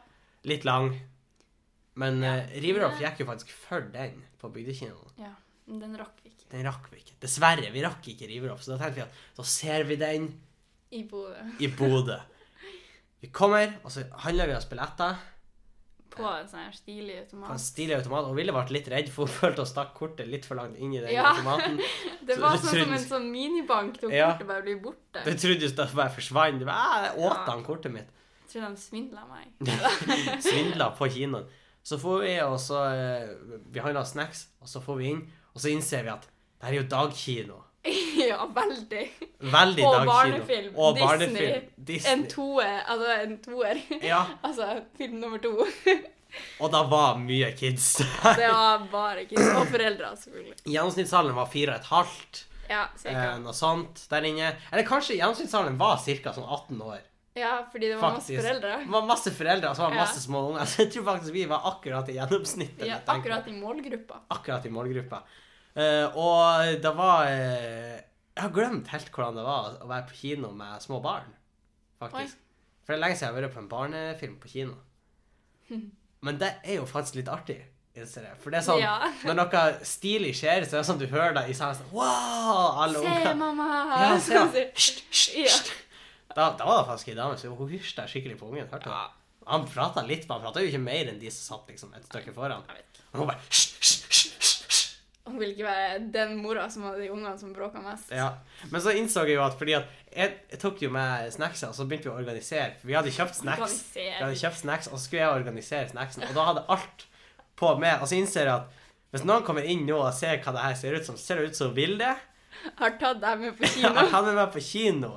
[SPEAKER 1] Litt lang. Men
[SPEAKER 2] Ja.
[SPEAKER 1] eh, Riverolf gikk jo faktisk før den på Bygdekinoen.
[SPEAKER 2] ja. Men Den rakk vi ikke.
[SPEAKER 1] Den rakk vi ikke. Dessverre, vi rakk ikke Riverolf. Så da tenkte vi at da ser vi den
[SPEAKER 2] I Bodø.
[SPEAKER 1] i Bodø. Vi kommer, og så handler vi oss billetter.
[SPEAKER 2] På en sånn her stilig
[SPEAKER 1] på en
[SPEAKER 2] automat.
[SPEAKER 1] stilig automat, og Ville ble litt redd, for hun følte å stakke kortet litt for langt inn i den
[SPEAKER 2] Ja.
[SPEAKER 1] automaten.
[SPEAKER 2] Det
[SPEAKER 1] Så-
[SPEAKER 2] var
[SPEAKER 1] så
[SPEAKER 2] sånn som
[SPEAKER 1] trodde-
[SPEAKER 2] en sånn minibank. Tok
[SPEAKER 1] Ja.
[SPEAKER 2] kortet bare blir borte.
[SPEAKER 1] Du trodde jo det bare forsvant. Du bare, «Æ, åt
[SPEAKER 2] Ja.
[SPEAKER 1] han kortet mitt. [laughs]
[SPEAKER 2] Jeg tror de svindla meg. [laughs]
[SPEAKER 1] Svindla på kinoen. Så får vi, og så eh, Vi handla snacks, og så får vi inn, og så innser vi at det her er jo dagkino.
[SPEAKER 2] ja, veldig.
[SPEAKER 1] Veldig
[SPEAKER 2] Og
[SPEAKER 1] dagkino.
[SPEAKER 2] barnefilm.
[SPEAKER 1] Og
[SPEAKER 2] Disney.
[SPEAKER 1] barnefilm. Disney.
[SPEAKER 2] En toer. Altså en toer.
[SPEAKER 1] Ja,
[SPEAKER 2] [laughs] altså film nummer to. [laughs]
[SPEAKER 1] og da var mye kids. [laughs]
[SPEAKER 2] Det var bare kids. Og foreldre, selvfølgelig.
[SPEAKER 1] Gjennomsnittsalderen var fire og et halvt,
[SPEAKER 2] Ja,
[SPEAKER 1] eh,
[SPEAKER 2] cirka.
[SPEAKER 1] noe sånt der inne. Eller kanskje gjennomsnittsalderen var ca. sånn 18 år.
[SPEAKER 2] Ja, fordi det var masse
[SPEAKER 1] Faktisk.
[SPEAKER 2] foreldre.
[SPEAKER 1] Det var masse foreldre og så var det
[SPEAKER 2] Ja.
[SPEAKER 1] masse små unger. [laughs] Så jeg tror faktisk vi var akkurat i gjennomsnittet.
[SPEAKER 2] Ja,
[SPEAKER 1] jeg tenker.
[SPEAKER 2] akkurat i målgruppa.
[SPEAKER 1] akkurat i målgruppa. Eh, og det var eh, Jeg har glemt helt hvordan det var å være på kino med små barn, faktisk. For det er lenge siden jeg har vært på en barnefilm på
[SPEAKER 2] [laughs]
[SPEAKER 1] kino. Men det er jo faktisk litt artig, innser jeg. For det er sånn
[SPEAKER 2] Ja.
[SPEAKER 1] når noe stilig skjer, så er det sånn du hører deg i salen sånn Wow! Alle
[SPEAKER 2] Se,
[SPEAKER 1] ungene.
[SPEAKER 2] mamma!
[SPEAKER 1] [laughs] Ja, se,
[SPEAKER 2] [laughs]
[SPEAKER 1] ja.
[SPEAKER 2] Sånn sier-
[SPEAKER 1] Hysj, hysj,
[SPEAKER 2] Ja.
[SPEAKER 1] hysj. Da, da var det faktisk ei dame som hun hysja skikkelig på ungen. Hørte du? Han prata litt, men han prata jo ikke mer enn de som satt liksom et stykke foran.
[SPEAKER 2] Jeg vet ikke.
[SPEAKER 1] Og hun bare hysj, hysj, hysj, hysj, hysj.
[SPEAKER 2] Hun vil ikke være den mora som hadde de ungene som bråka mest.
[SPEAKER 1] Ja. Men så innså jeg jo at fordi at jeg, jeg tok jo med snacksa, og så begynte vi å organisere. For vi hadde kjøpt snacks, vi
[SPEAKER 2] Organisere.
[SPEAKER 1] hadde kjøpt snacks og så skulle jeg organisere snacksen. Og da hadde alt på med. Og så innser jeg at hvis noen kommer inn nå og ser hva det her ser ut som, ser det ut som Vilde.
[SPEAKER 2] Har tatt deg
[SPEAKER 1] [laughs]
[SPEAKER 2] med på
[SPEAKER 1] Jeg
[SPEAKER 2] kino.
[SPEAKER 1] hadde meg på kino.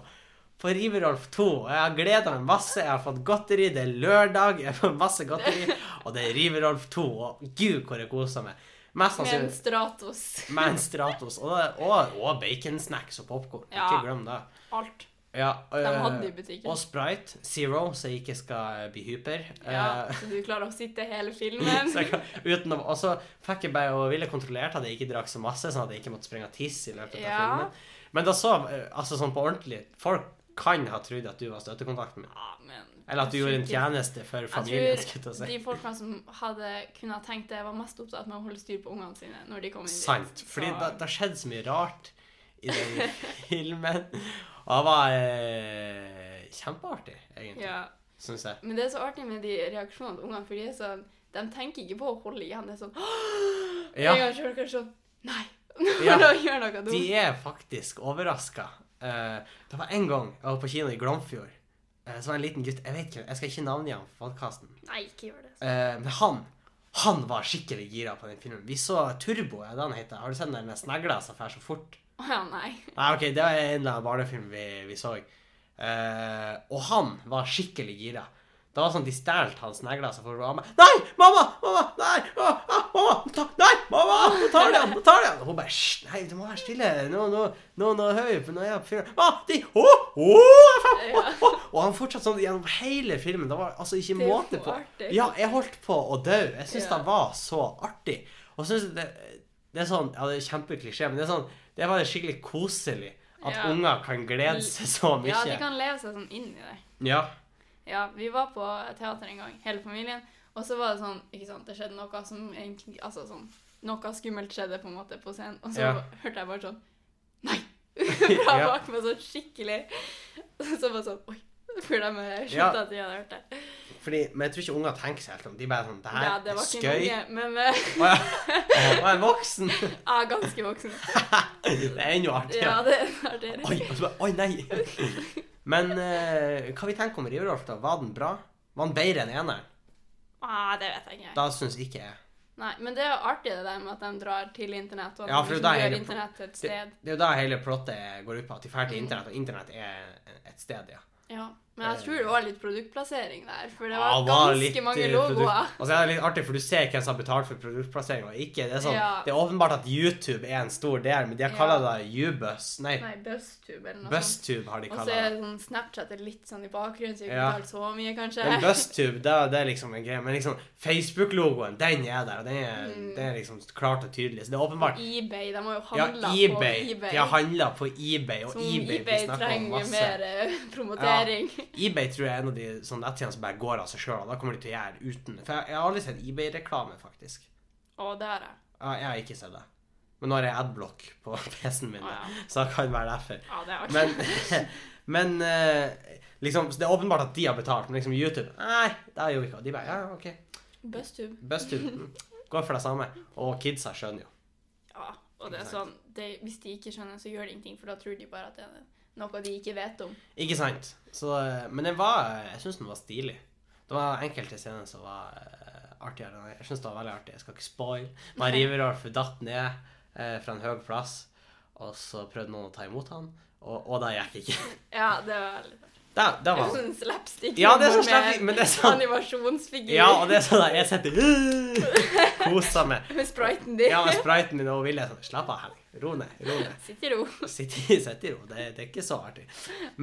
[SPEAKER 1] På Riverolf 2. Og jeg har gleda meg masse. Jeg har fått godteri. Det er lørdag, jeg får masse godteri. Og det er Riverolf 2. Og gud, hvor jeg koser meg. Mest
[SPEAKER 2] Med en
[SPEAKER 1] sannsynlig
[SPEAKER 2] Stratos.
[SPEAKER 1] med en Stratos. Og, og, og baconsnacks og popkorn.
[SPEAKER 2] Ja.
[SPEAKER 1] Ikke glem det.
[SPEAKER 2] Alt.
[SPEAKER 1] Ja,
[SPEAKER 2] De
[SPEAKER 1] øh,
[SPEAKER 2] hadde i butikken.
[SPEAKER 1] Og Sprite Zero, så jeg ikke skal bli hyper.
[SPEAKER 2] Ja,
[SPEAKER 1] Eh,
[SPEAKER 2] så du klarer å sitte hele
[SPEAKER 1] så [laughs]
[SPEAKER 2] filmen.
[SPEAKER 1] jeg kan, uten å, og så fikk jeg bare og ville kontrollert at jeg ikke drakk så masse, sånn at jeg ikke måtte springe og tisse i løpet av
[SPEAKER 2] Ja.
[SPEAKER 1] filmen. Men da så eh, altså sånn på ordentlig Folk kan ha trodd at du var støttekontakten min.
[SPEAKER 2] Ja, Ah, men...
[SPEAKER 1] Eller at du gjorde en tjeneste for familien.
[SPEAKER 2] Jeg
[SPEAKER 1] skulle jeg til å
[SPEAKER 2] tror
[SPEAKER 1] si.
[SPEAKER 2] de folkene som hadde kunnet tenkt det, var mest opptatt med å holde styr på ungene sine når de kom inn dit.
[SPEAKER 1] Sant. Fordi
[SPEAKER 2] Så-
[SPEAKER 1] det det har skjedd så mye rart i
[SPEAKER 2] [laughs]
[SPEAKER 1] den filmen. Og det var eh, kjempeartig, egentlig,
[SPEAKER 2] Ja.
[SPEAKER 1] synes jeg.
[SPEAKER 2] Men det er så artig med de reaksjonene til ungene, for de er sånn... De tenker ikke på å holde igjen. Det er sånn...
[SPEAKER 1] Ja.
[SPEAKER 2] En gang så er det kanskje sånn... Nei! [laughs]
[SPEAKER 1] Ja.
[SPEAKER 2] Nå gjør noe dumt.
[SPEAKER 1] De er faktisk overraska. det var en gang jeg var på kino i Glomfjord. Eh, så var det en liten gutt Jeg vet ikke, jeg skal ikke navngi ham på podkasten.
[SPEAKER 2] Nei, ikke gjør det.
[SPEAKER 1] eh, men han han var skikkelig gira på den filmen. Vi så Turbo, er det han heter. Har du sett den der snegla som fær så fort?
[SPEAKER 2] Å ja, nei.
[SPEAKER 1] Nei, ok, det var en av barnefilmene vi, vi så. Eh, og han var skikkelig gira. Det var sånn de stjal hans snegler. Så for mamma Nei, mamma! Mamma! Nei! Mamma! ah, mamma ta, nei, mamma! Nå tar de han! Nå tar de han! Og hun bare Hysj! Nei, du må være stille. Nå, nå, nå, nå hører vi på Nå er jeg på filmen. Ah, de, oh, oh,
[SPEAKER 2] Ja.
[SPEAKER 1] Og han fortsatte sånn gjennom hele filmen. Det var altså ikke
[SPEAKER 2] Det er jo
[SPEAKER 1] måte på.
[SPEAKER 2] artig.
[SPEAKER 1] Ja, jeg holdt på å dø. Jeg syns
[SPEAKER 2] Ja.
[SPEAKER 1] det var så artig. Og synes det, Det er sånn, ja, det er kjempeklisjé, men det er sånn, det er bare skikkelig koselig at
[SPEAKER 2] Ja. Mm.
[SPEAKER 1] unger kan glede seg så mye.
[SPEAKER 2] Ja, de kan leve seg sånn inn i det.
[SPEAKER 1] Ja.
[SPEAKER 2] Ja, vi var på teater en gang, hele familien, og så var det sånn, ikke sant, det skjedde noe som egentlig, altså sånn, noe skummelt skjedde på en måte på scenen, og så
[SPEAKER 1] Ja.
[SPEAKER 2] hørte jeg bare sånn,
[SPEAKER 1] [laughs]
[SPEAKER 2] nei! [laughs] Fra
[SPEAKER 1] Ja.
[SPEAKER 2] bak meg sånn skikkelig. Så bare sånn, oi, for de eh, skjønte
[SPEAKER 1] Ja.
[SPEAKER 2] at de hadde hørt det.
[SPEAKER 1] Fordi, men jeg tror ikke unger tenker seg helt om. De bare sånn, det her
[SPEAKER 2] ja, det
[SPEAKER 1] er
[SPEAKER 2] var ikke
[SPEAKER 1] skøy.
[SPEAKER 2] noe, men eh,
[SPEAKER 1] Å
[SPEAKER 2] [laughs]
[SPEAKER 1] ja. Å, en voksen.
[SPEAKER 2] jeg er ganske voksen.
[SPEAKER 1] [laughs] Det er ennå artigere.
[SPEAKER 2] Ja, det er det.
[SPEAKER 1] Oi, og så bare, oi, nei. Men eh, hva vi tenker om Riverolf, da? Var den bra? Var den bedre enn eneren?
[SPEAKER 2] Ah, det vet jeg ikke.
[SPEAKER 1] Da syns ikke jeg.
[SPEAKER 2] Nei, men det er jo artig det der med at de drar til internett, og at
[SPEAKER 1] Ja, for
[SPEAKER 2] de
[SPEAKER 1] det er
[SPEAKER 2] liksom
[SPEAKER 1] hele
[SPEAKER 2] gjør
[SPEAKER 1] pro-
[SPEAKER 2] internett til et
[SPEAKER 1] Det,
[SPEAKER 2] sted. Mm.
[SPEAKER 1] det er jo da hele plottet går ut på, at de drar til internett, og internett er et sted, ja.
[SPEAKER 2] Ja, men jeg
[SPEAKER 1] Eh.
[SPEAKER 2] tror det var litt produktplassering der, for det
[SPEAKER 1] Ja,
[SPEAKER 2] var
[SPEAKER 1] det var
[SPEAKER 2] ganske
[SPEAKER 1] litt,
[SPEAKER 2] mange
[SPEAKER 1] eh,
[SPEAKER 2] logoer.
[SPEAKER 1] produkt- Og så er det litt artig, for du ser hvem som har betalt for produktplassering og ikke. Det er, sånn,
[SPEAKER 2] Ja.
[SPEAKER 1] det er åpenbart at YouTube er en stor del, men de har kalla det U-Bus. Nei,
[SPEAKER 2] Nei, BuzzTube eller noe sånt.
[SPEAKER 1] BuzzTube har de
[SPEAKER 2] Og
[SPEAKER 1] kalla
[SPEAKER 2] så er
[SPEAKER 1] det.
[SPEAKER 2] det sånn Snapchat er litt sånn i bakgrunnen, så jeg ikke
[SPEAKER 1] Ja.
[SPEAKER 2] betaler så mye, kanskje.
[SPEAKER 1] Men BuzzTube, det, er- det er liksom en greie. Men liksom, Facebook-logoen, den er der, og den er,
[SPEAKER 2] Mm.
[SPEAKER 1] den er liksom klart og tydelig. Så det er åpenbart.
[SPEAKER 2] [laughs] eBay, de har jo
[SPEAKER 1] Ja,
[SPEAKER 2] handla
[SPEAKER 1] eBay.
[SPEAKER 2] på eBay.
[SPEAKER 1] De har handla på eBay, og
[SPEAKER 2] som
[SPEAKER 1] eBay,
[SPEAKER 2] eBay,
[SPEAKER 1] blir snakka om
[SPEAKER 2] trenger
[SPEAKER 1] masse.
[SPEAKER 2] mer eh, [laughs] promotering.
[SPEAKER 1] eBay tror jeg er en av de sånne nettsidene som bare går av seg sjøl, og da kommer de til å gjøre uten For jeg, jeg har aldri sett eBay-reklame, faktisk.
[SPEAKER 2] Og det har jeg.
[SPEAKER 1] Ja, jeg har ikke sett det. Men nå har jeg adblock på [laughs] PC-en min,
[SPEAKER 2] Å, ja.
[SPEAKER 1] så det kan være derfor.
[SPEAKER 2] ja, det er
[SPEAKER 1] Men, [laughs]
[SPEAKER 2] [laughs] artig.
[SPEAKER 1] men eh, liksom, så det er åpenbart at de har betalt, men liksom YouTube Nei, det har jo ikke. Og de bare Ja, OK.
[SPEAKER 2] BuzzTube.
[SPEAKER 1] BuzzTube mm, går for det samme. Og kidsa skjønner jo.
[SPEAKER 2] Ja, og det er
[SPEAKER 1] Ikke
[SPEAKER 2] sånn, det, hvis de ikke skjønner, så gjør det ingenting, for da tror de bare at det er noe de ikke vet om.
[SPEAKER 1] Ikke sant? Så, eh, men den var Jeg syns den var stilig. Det var enkelte scener som var eh, artigere. enn- Jeg syns det var veldig artig. Jeg skal ikke spoil.
[SPEAKER 2] [laughs]
[SPEAKER 1] Man
[SPEAKER 2] Nei.
[SPEAKER 1] river Rolf datt ned eh, fra en høy plass, og så prøvde noen å ta imot han, og, og det gikk ikke.
[SPEAKER 2] Ja, det var litt
[SPEAKER 1] Det, det
[SPEAKER 2] Det er
[SPEAKER 1] var
[SPEAKER 2] [laughs] sånn slapstick.
[SPEAKER 1] Ja, det er sånn
[SPEAKER 2] med
[SPEAKER 1] slapstick, men det er sånn-
[SPEAKER 2] Animasjonsfigur
[SPEAKER 1] Ja, og det er sånn at jeg sitter uh, Koser meg.
[SPEAKER 2] med spriten din.
[SPEAKER 1] Ja, med spriten min og Vilje er sånn Slapp av, Henning. Ro ned. Ro
[SPEAKER 2] [laughs]
[SPEAKER 1] ned.
[SPEAKER 2] Sitt i ro.
[SPEAKER 1] Sitt i, sitt i ro. Det, det er ikke så artig.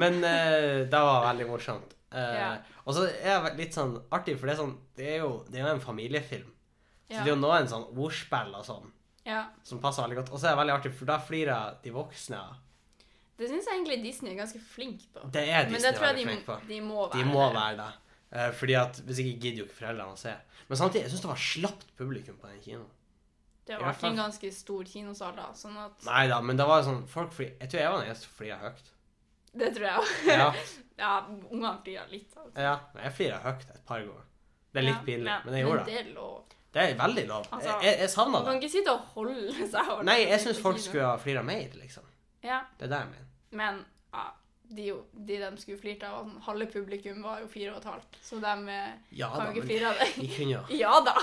[SPEAKER 1] Men eh, det var veldig morsomt. Eh,
[SPEAKER 2] Ja.
[SPEAKER 1] Og så er det litt sånn artig, for det er, sånn, det er, jo, det er jo en familiefilm. Så
[SPEAKER 2] Ja.
[SPEAKER 1] det er jo noen sånn ordspill og sånn
[SPEAKER 2] ja.
[SPEAKER 1] som passer veldig godt. Og så er det veldig artig, for da flirer de voksne.
[SPEAKER 2] Det syns jeg egentlig Disney er ganske flink på.
[SPEAKER 1] Det er
[SPEAKER 2] Men det
[SPEAKER 1] Disney
[SPEAKER 2] tror jeg
[SPEAKER 1] veldig
[SPEAKER 2] de,
[SPEAKER 1] flink på.
[SPEAKER 2] de må være.
[SPEAKER 1] De må være det. Eh, Fordi at Hvis ikke gidder jo ikke foreldrene å se. Men samtidig, jeg syns det var slapt publikum på den kinoen.
[SPEAKER 2] Det
[SPEAKER 1] I
[SPEAKER 2] var
[SPEAKER 1] hvert
[SPEAKER 2] ikke
[SPEAKER 1] fall.
[SPEAKER 2] en ganske stor kinosal, da. Sånn at
[SPEAKER 1] Nei da, men det var sånn folk fly, Jeg tror jeg var den eneste som flira høyt.
[SPEAKER 2] Det tror jeg òg.
[SPEAKER 1] Ja,
[SPEAKER 2] [laughs] ja, ungene flirer litt. Altså.
[SPEAKER 1] ja. men Jeg flira høyt et par ganger. Det er litt
[SPEAKER 2] Ja,
[SPEAKER 1] pinlig,
[SPEAKER 2] ja,
[SPEAKER 1] men jeg gjorde
[SPEAKER 2] men
[SPEAKER 1] det.
[SPEAKER 2] det. er lov.
[SPEAKER 1] Det er veldig lov.
[SPEAKER 2] Altså,
[SPEAKER 1] Jeg, jeg, jeg savna
[SPEAKER 2] Man
[SPEAKER 1] det.
[SPEAKER 2] kan ikke sitte og holde seg over
[SPEAKER 1] Nei, jeg syns folk skulle ha flira mer, liksom.
[SPEAKER 2] Ja,
[SPEAKER 1] Det er det jeg mener.
[SPEAKER 2] men ja, de, jo- de de skulle flirt av, og sånn, halve publikum var jo fire og et halvt, så de eh,
[SPEAKER 1] Ja
[SPEAKER 2] kan
[SPEAKER 1] da,
[SPEAKER 2] jo ikke
[SPEAKER 1] men
[SPEAKER 2] flire av det.
[SPEAKER 1] [laughs] de kunne jo
[SPEAKER 2] Ja da!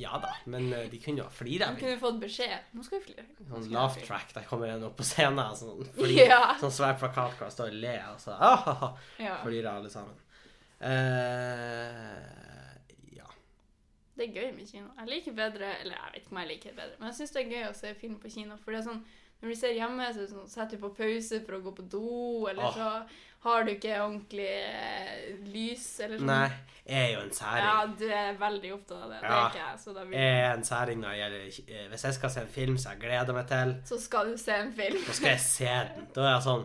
[SPEAKER 1] Ja da, men eh, de kunne jo ha flira.
[SPEAKER 2] De kunne fått beskjed. Nå skal vi flire. Nå
[SPEAKER 1] Sånn
[SPEAKER 2] skal vi
[SPEAKER 1] laugh
[SPEAKER 2] flire.
[SPEAKER 1] track. Der kommer en opp på scenen,
[SPEAKER 2] [laughs]
[SPEAKER 1] sånn, flir,
[SPEAKER 2] Ja.
[SPEAKER 1] sånn svær plakat hvor han står og ler, og så [laughs] ah, ha, ha,
[SPEAKER 2] ja.
[SPEAKER 1] flirer alle sammen. Eh, ja.
[SPEAKER 2] Det er gøy med kino. Jeg liker bedre Eller jeg vet ikke om jeg liker det bedre, men jeg syns det er gøy å se film på kino. For det er sånn når du ser hjemme, så er det sånn, setter du på pause for å gå på do, eller
[SPEAKER 1] Åh.
[SPEAKER 2] så har du ikke ordentlig eh, lys, eller sånn.
[SPEAKER 1] Nei, jeg er jo en særing.
[SPEAKER 2] Ja, du er veldig opptatt av det.
[SPEAKER 1] Ja.
[SPEAKER 2] Det
[SPEAKER 1] Eh.
[SPEAKER 2] er ikke jeg, så da blir
[SPEAKER 1] Jeg er en særing når det gjelder eh, Hvis jeg skal se en film som jeg gleder meg til,
[SPEAKER 2] Så skal du se en film.
[SPEAKER 1] så skal jeg se den. Da er jeg sånn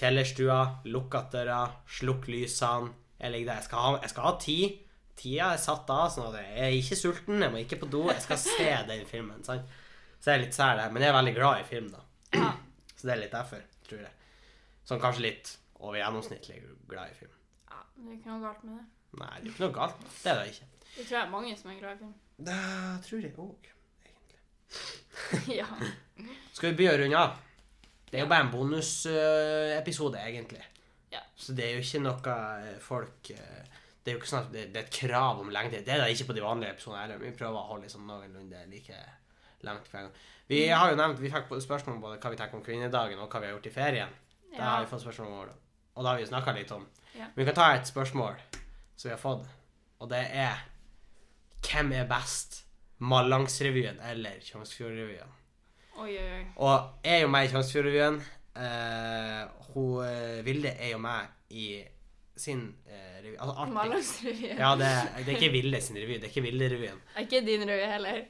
[SPEAKER 1] Kjellerstua, lukk att døra, slukk lysene. Jeg ligger der. Jeg skal ha, jeg skal ha tid. Tida er satt av, sånn at jeg er ikke sulten, jeg må ikke på do. Jeg skal se den filmen. sant? Så jeg er litt sær der. Men jeg er veldig glad i film, da.
[SPEAKER 2] Ja.
[SPEAKER 1] Så det er litt derfor, tror jeg. Sånn kanskje litt over gjennomsnittlig glad i film.
[SPEAKER 2] ja, det er ikke noe galt med det.
[SPEAKER 1] Nei, det er jo ikke noe galt. Det er det ikke.
[SPEAKER 2] Det tror jeg er mange som er glad i film. [laughs]
[SPEAKER 1] Det tror jeg òg.
[SPEAKER 2] ja.
[SPEAKER 1] Skal vi begynne å runde av? Det er jo bare en bonusepisode, egentlig.
[SPEAKER 2] Ja.
[SPEAKER 1] Så det er jo ikke noe eh, folk eh, Det er jo ikke sånn at det, det er et krav om lengde. Det er det ikke på de vanlige episodene heller. Vi prøver å holde liksom noenlunde like langt hver gang. Vi
[SPEAKER 2] Mm.
[SPEAKER 1] har jo nevnt, vi fikk både spørsmål om både hva vi tenker om kvinnedagen, og hva vi har gjort i ferien. Da
[SPEAKER 2] ja.
[SPEAKER 1] har vi fått spørsmål om det. Og det har vi jo snakka litt om.
[SPEAKER 2] Ja.
[SPEAKER 1] Vi kan ta et spørsmål som vi har fått, og det er Hvem er best? Mallangsrevyen eller Tjongsfjordrevyen?
[SPEAKER 2] Oi, oi, oi.
[SPEAKER 1] Og jeg er jo med i Tjønsfjordrevyen. Eh, hun eh, Vilde er jo med i sin eh, revy. Altså Arctic.
[SPEAKER 2] Mallangsrevyen.
[SPEAKER 1] Ja, det, det er ikke Vilde sin revy, det er ikke Vilde-revyen.
[SPEAKER 2] Er ikke din røde heller.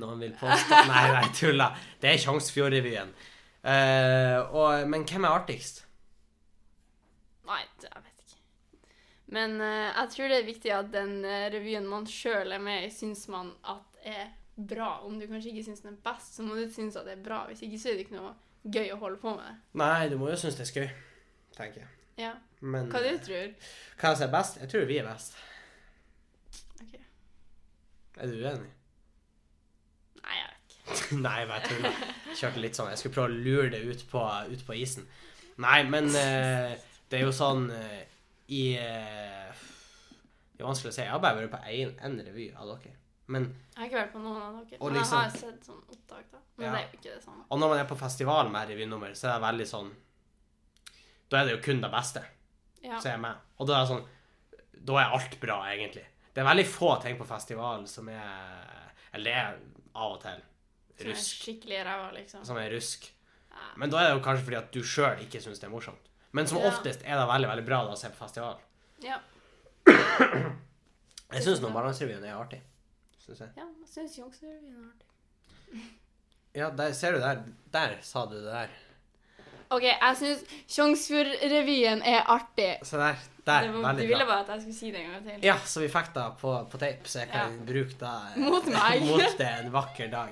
[SPEAKER 1] Noen vil påstå Nei, nei, tulla. Det er Tjongsfjordrevyen. Eh, og- men hvem er artigst?
[SPEAKER 2] Nei, det- jeg vet ikke. Men eh, jeg tror det er viktig at den eh, revyen man sjøl er med i, syns man at er bra. Om du kanskje ikke syns den er best, så må du synes at det er bra. Hvis ikke så er det ikke noe gøy å holde på med.
[SPEAKER 1] Nei, du må jo synes det er skøy, tenker jeg.
[SPEAKER 2] Ja.
[SPEAKER 1] Men
[SPEAKER 2] Hva du
[SPEAKER 1] eh,
[SPEAKER 2] tror
[SPEAKER 1] hva som er best? Jeg tror vi er best.
[SPEAKER 2] Ok.
[SPEAKER 1] Er du uenig?
[SPEAKER 2] Nei, jeg vet ikke.
[SPEAKER 1] [laughs] Nei, jeg bare tuller. Kjørte litt sånn. Jeg skulle prøve å lure det ut på, ut på isen. Nei, men eh, det er jo sånn eh, i eh, Det er vanskelig å si. Jeg har bare vært på én revy av dere. Men,
[SPEAKER 2] Jeg har ikke vært på noen av dere.
[SPEAKER 1] Og
[SPEAKER 2] Men jeg
[SPEAKER 1] liksom-
[SPEAKER 2] har sett sånn opptak, da. Men
[SPEAKER 1] Ja.
[SPEAKER 2] det er jo ikke det samme.
[SPEAKER 1] og når man er på festival med revynummer, så er det veldig sånn Da er det jo kun det beste
[SPEAKER 2] Ja.
[SPEAKER 1] som er med. Og da er det sånn Da er alt bra, egentlig. Det er veldig få ting på festival som er Eller det er av og til
[SPEAKER 2] Som er
[SPEAKER 1] rusk.
[SPEAKER 2] skikkelig ræva, liksom.
[SPEAKER 1] Som er rusk.
[SPEAKER 2] Ja.
[SPEAKER 1] Men da er det jo kanskje fordi at du sjøl ikke syns det er morsomt. Men som
[SPEAKER 2] Ja.
[SPEAKER 1] oftest er det veldig veldig bra da å se på festival.
[SPEAKER 2] ja.
[SPEAKER 1] Jeg syns Nordmælandsrevyen er artig. Synes jeg.
[SPEAKER 2] Ja, jeg syns Youngstoryen er artig.
[SPEAKER 1] Ja, der ser du der. Der sa du det der.
[SPEAKER 2] OK, jeg syns Tjongsfjordrevyen er artig.
[SPEAKER 1] Se der.
[SPEAKER 2] Det
[SPEAKER 1] Der.
[SPEAKER 2] var, du
[SPEAKER 1] Veldig
[SPEAKER 2] ville
[SPEAKER 1] bra.
[SPEAKER 2] bare at jeg skulle si det en gang til.
[SPEAKER 1] Ja, så vi fikk det på, på tape, så jeg kan bruke det
[SPEAKER 2] [laughs] Mot meg.
[SPEAKER 1] [laughs] mot det en vakker dag.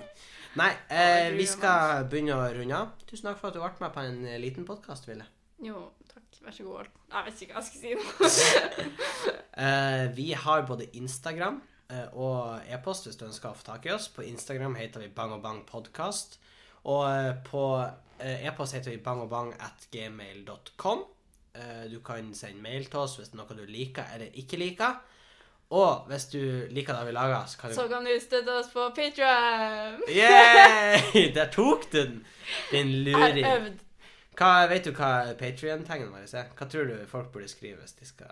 [SPEAKER 1] Nei, eh,
[SPEAKER 2] Å, du
[SPEAKER 1] vi
[SPEAKER 2] er
[SPEAKER 1] skal begynne å runde av. Tusen takk for at du ble med på en eh, liten podkast, Ville.
[SPEAKER 2] Jo, takk. Vær så god. Alf. Jeg vet ikke hva jeg skal si nå.
[SPEAKER 1] Eh, vi har både Instagram eh, og e-post hvis du ønsker å få tak i oss. På Instagram heter vi Bang og Bang Podcast. Og eh, på eh, e-post heter vi bangogbang.gmail.com. Eh, du kan sende mail til oss hvis det er noe du liker eller ikke liker. Og hvis du liker det vi lager, så kan du
[SPEAKER 2] Så kan du støtte oss på Patreon
[SPEAKER 1] Yeah! [laughs] Der tok du den! Din
[SPEAKER 2] Jeg har
[SPEAKER 1] luring.
[SPEAKER 2] øvd.
[SPEAKER 1] Hva, vet du hva Patrion-tegnet vårt er? Hva tror du folk burde skrive hvis de skal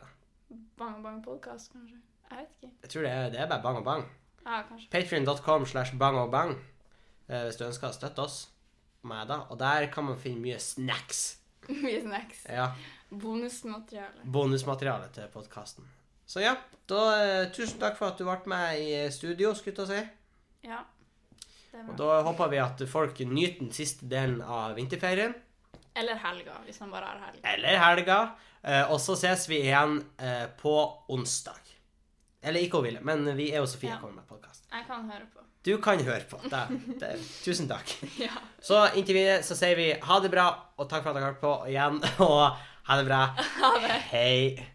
[SPEAKER 2] Bang Bang Podcast, kanskje. Jeg vet ikke.
[SPEAKER 1] Jeg tror det er, det er bare bang og bang.
[SPEAKER 2] Ja, [laughs] kanskje.
[SPEAKER 1] Patreon.com slash bangogbang eh, hvis du ønsker å støtte oss. Meg da, og der kan man finne mye snacks.
[SPEAKER 2] Mye snacks.
[SPEAKER 1] Ja,
[SPEAKER 2] Bonusmateriale.
[SPEAKER 1] Bonusmateriale til podkasten. Så ja, da eh, tusen takk for at du ble med i studio, skulle jeg til å si.
[SPEAKER 2] Ja. Det er
[SPEAKER 1] Og
[SPEAKER 2] bra.
[SPEAKER 1] da håper vi at folk nyter den siste delen av vinterferien.
[SPEAKER 2] Eller helga, hvis man bare har helg.
[SPEAKER 1] Eller helga. Eh, og så ses vi igjen eh, på onsdag. Eller ikke hun ville, men vi er jo Sofie
[SPEAKER 2] Ja.
[SPEAKER 1] kommer med podkast.
[SPEAKER 2] Jeg kan høre på.
[SPEAKER 1] Du kan høre på. Det, det, tusen takk.
[SPEAKER 2] [laughs] Ja.
[SPEAKER 1] Så inntil videre så [laughs] sier vi ha det bra, og takk for at dere har hørt på igjen. Og ha det bra.
[SPEAKER 2] Ha det.
[SPEAKER 1] Hei.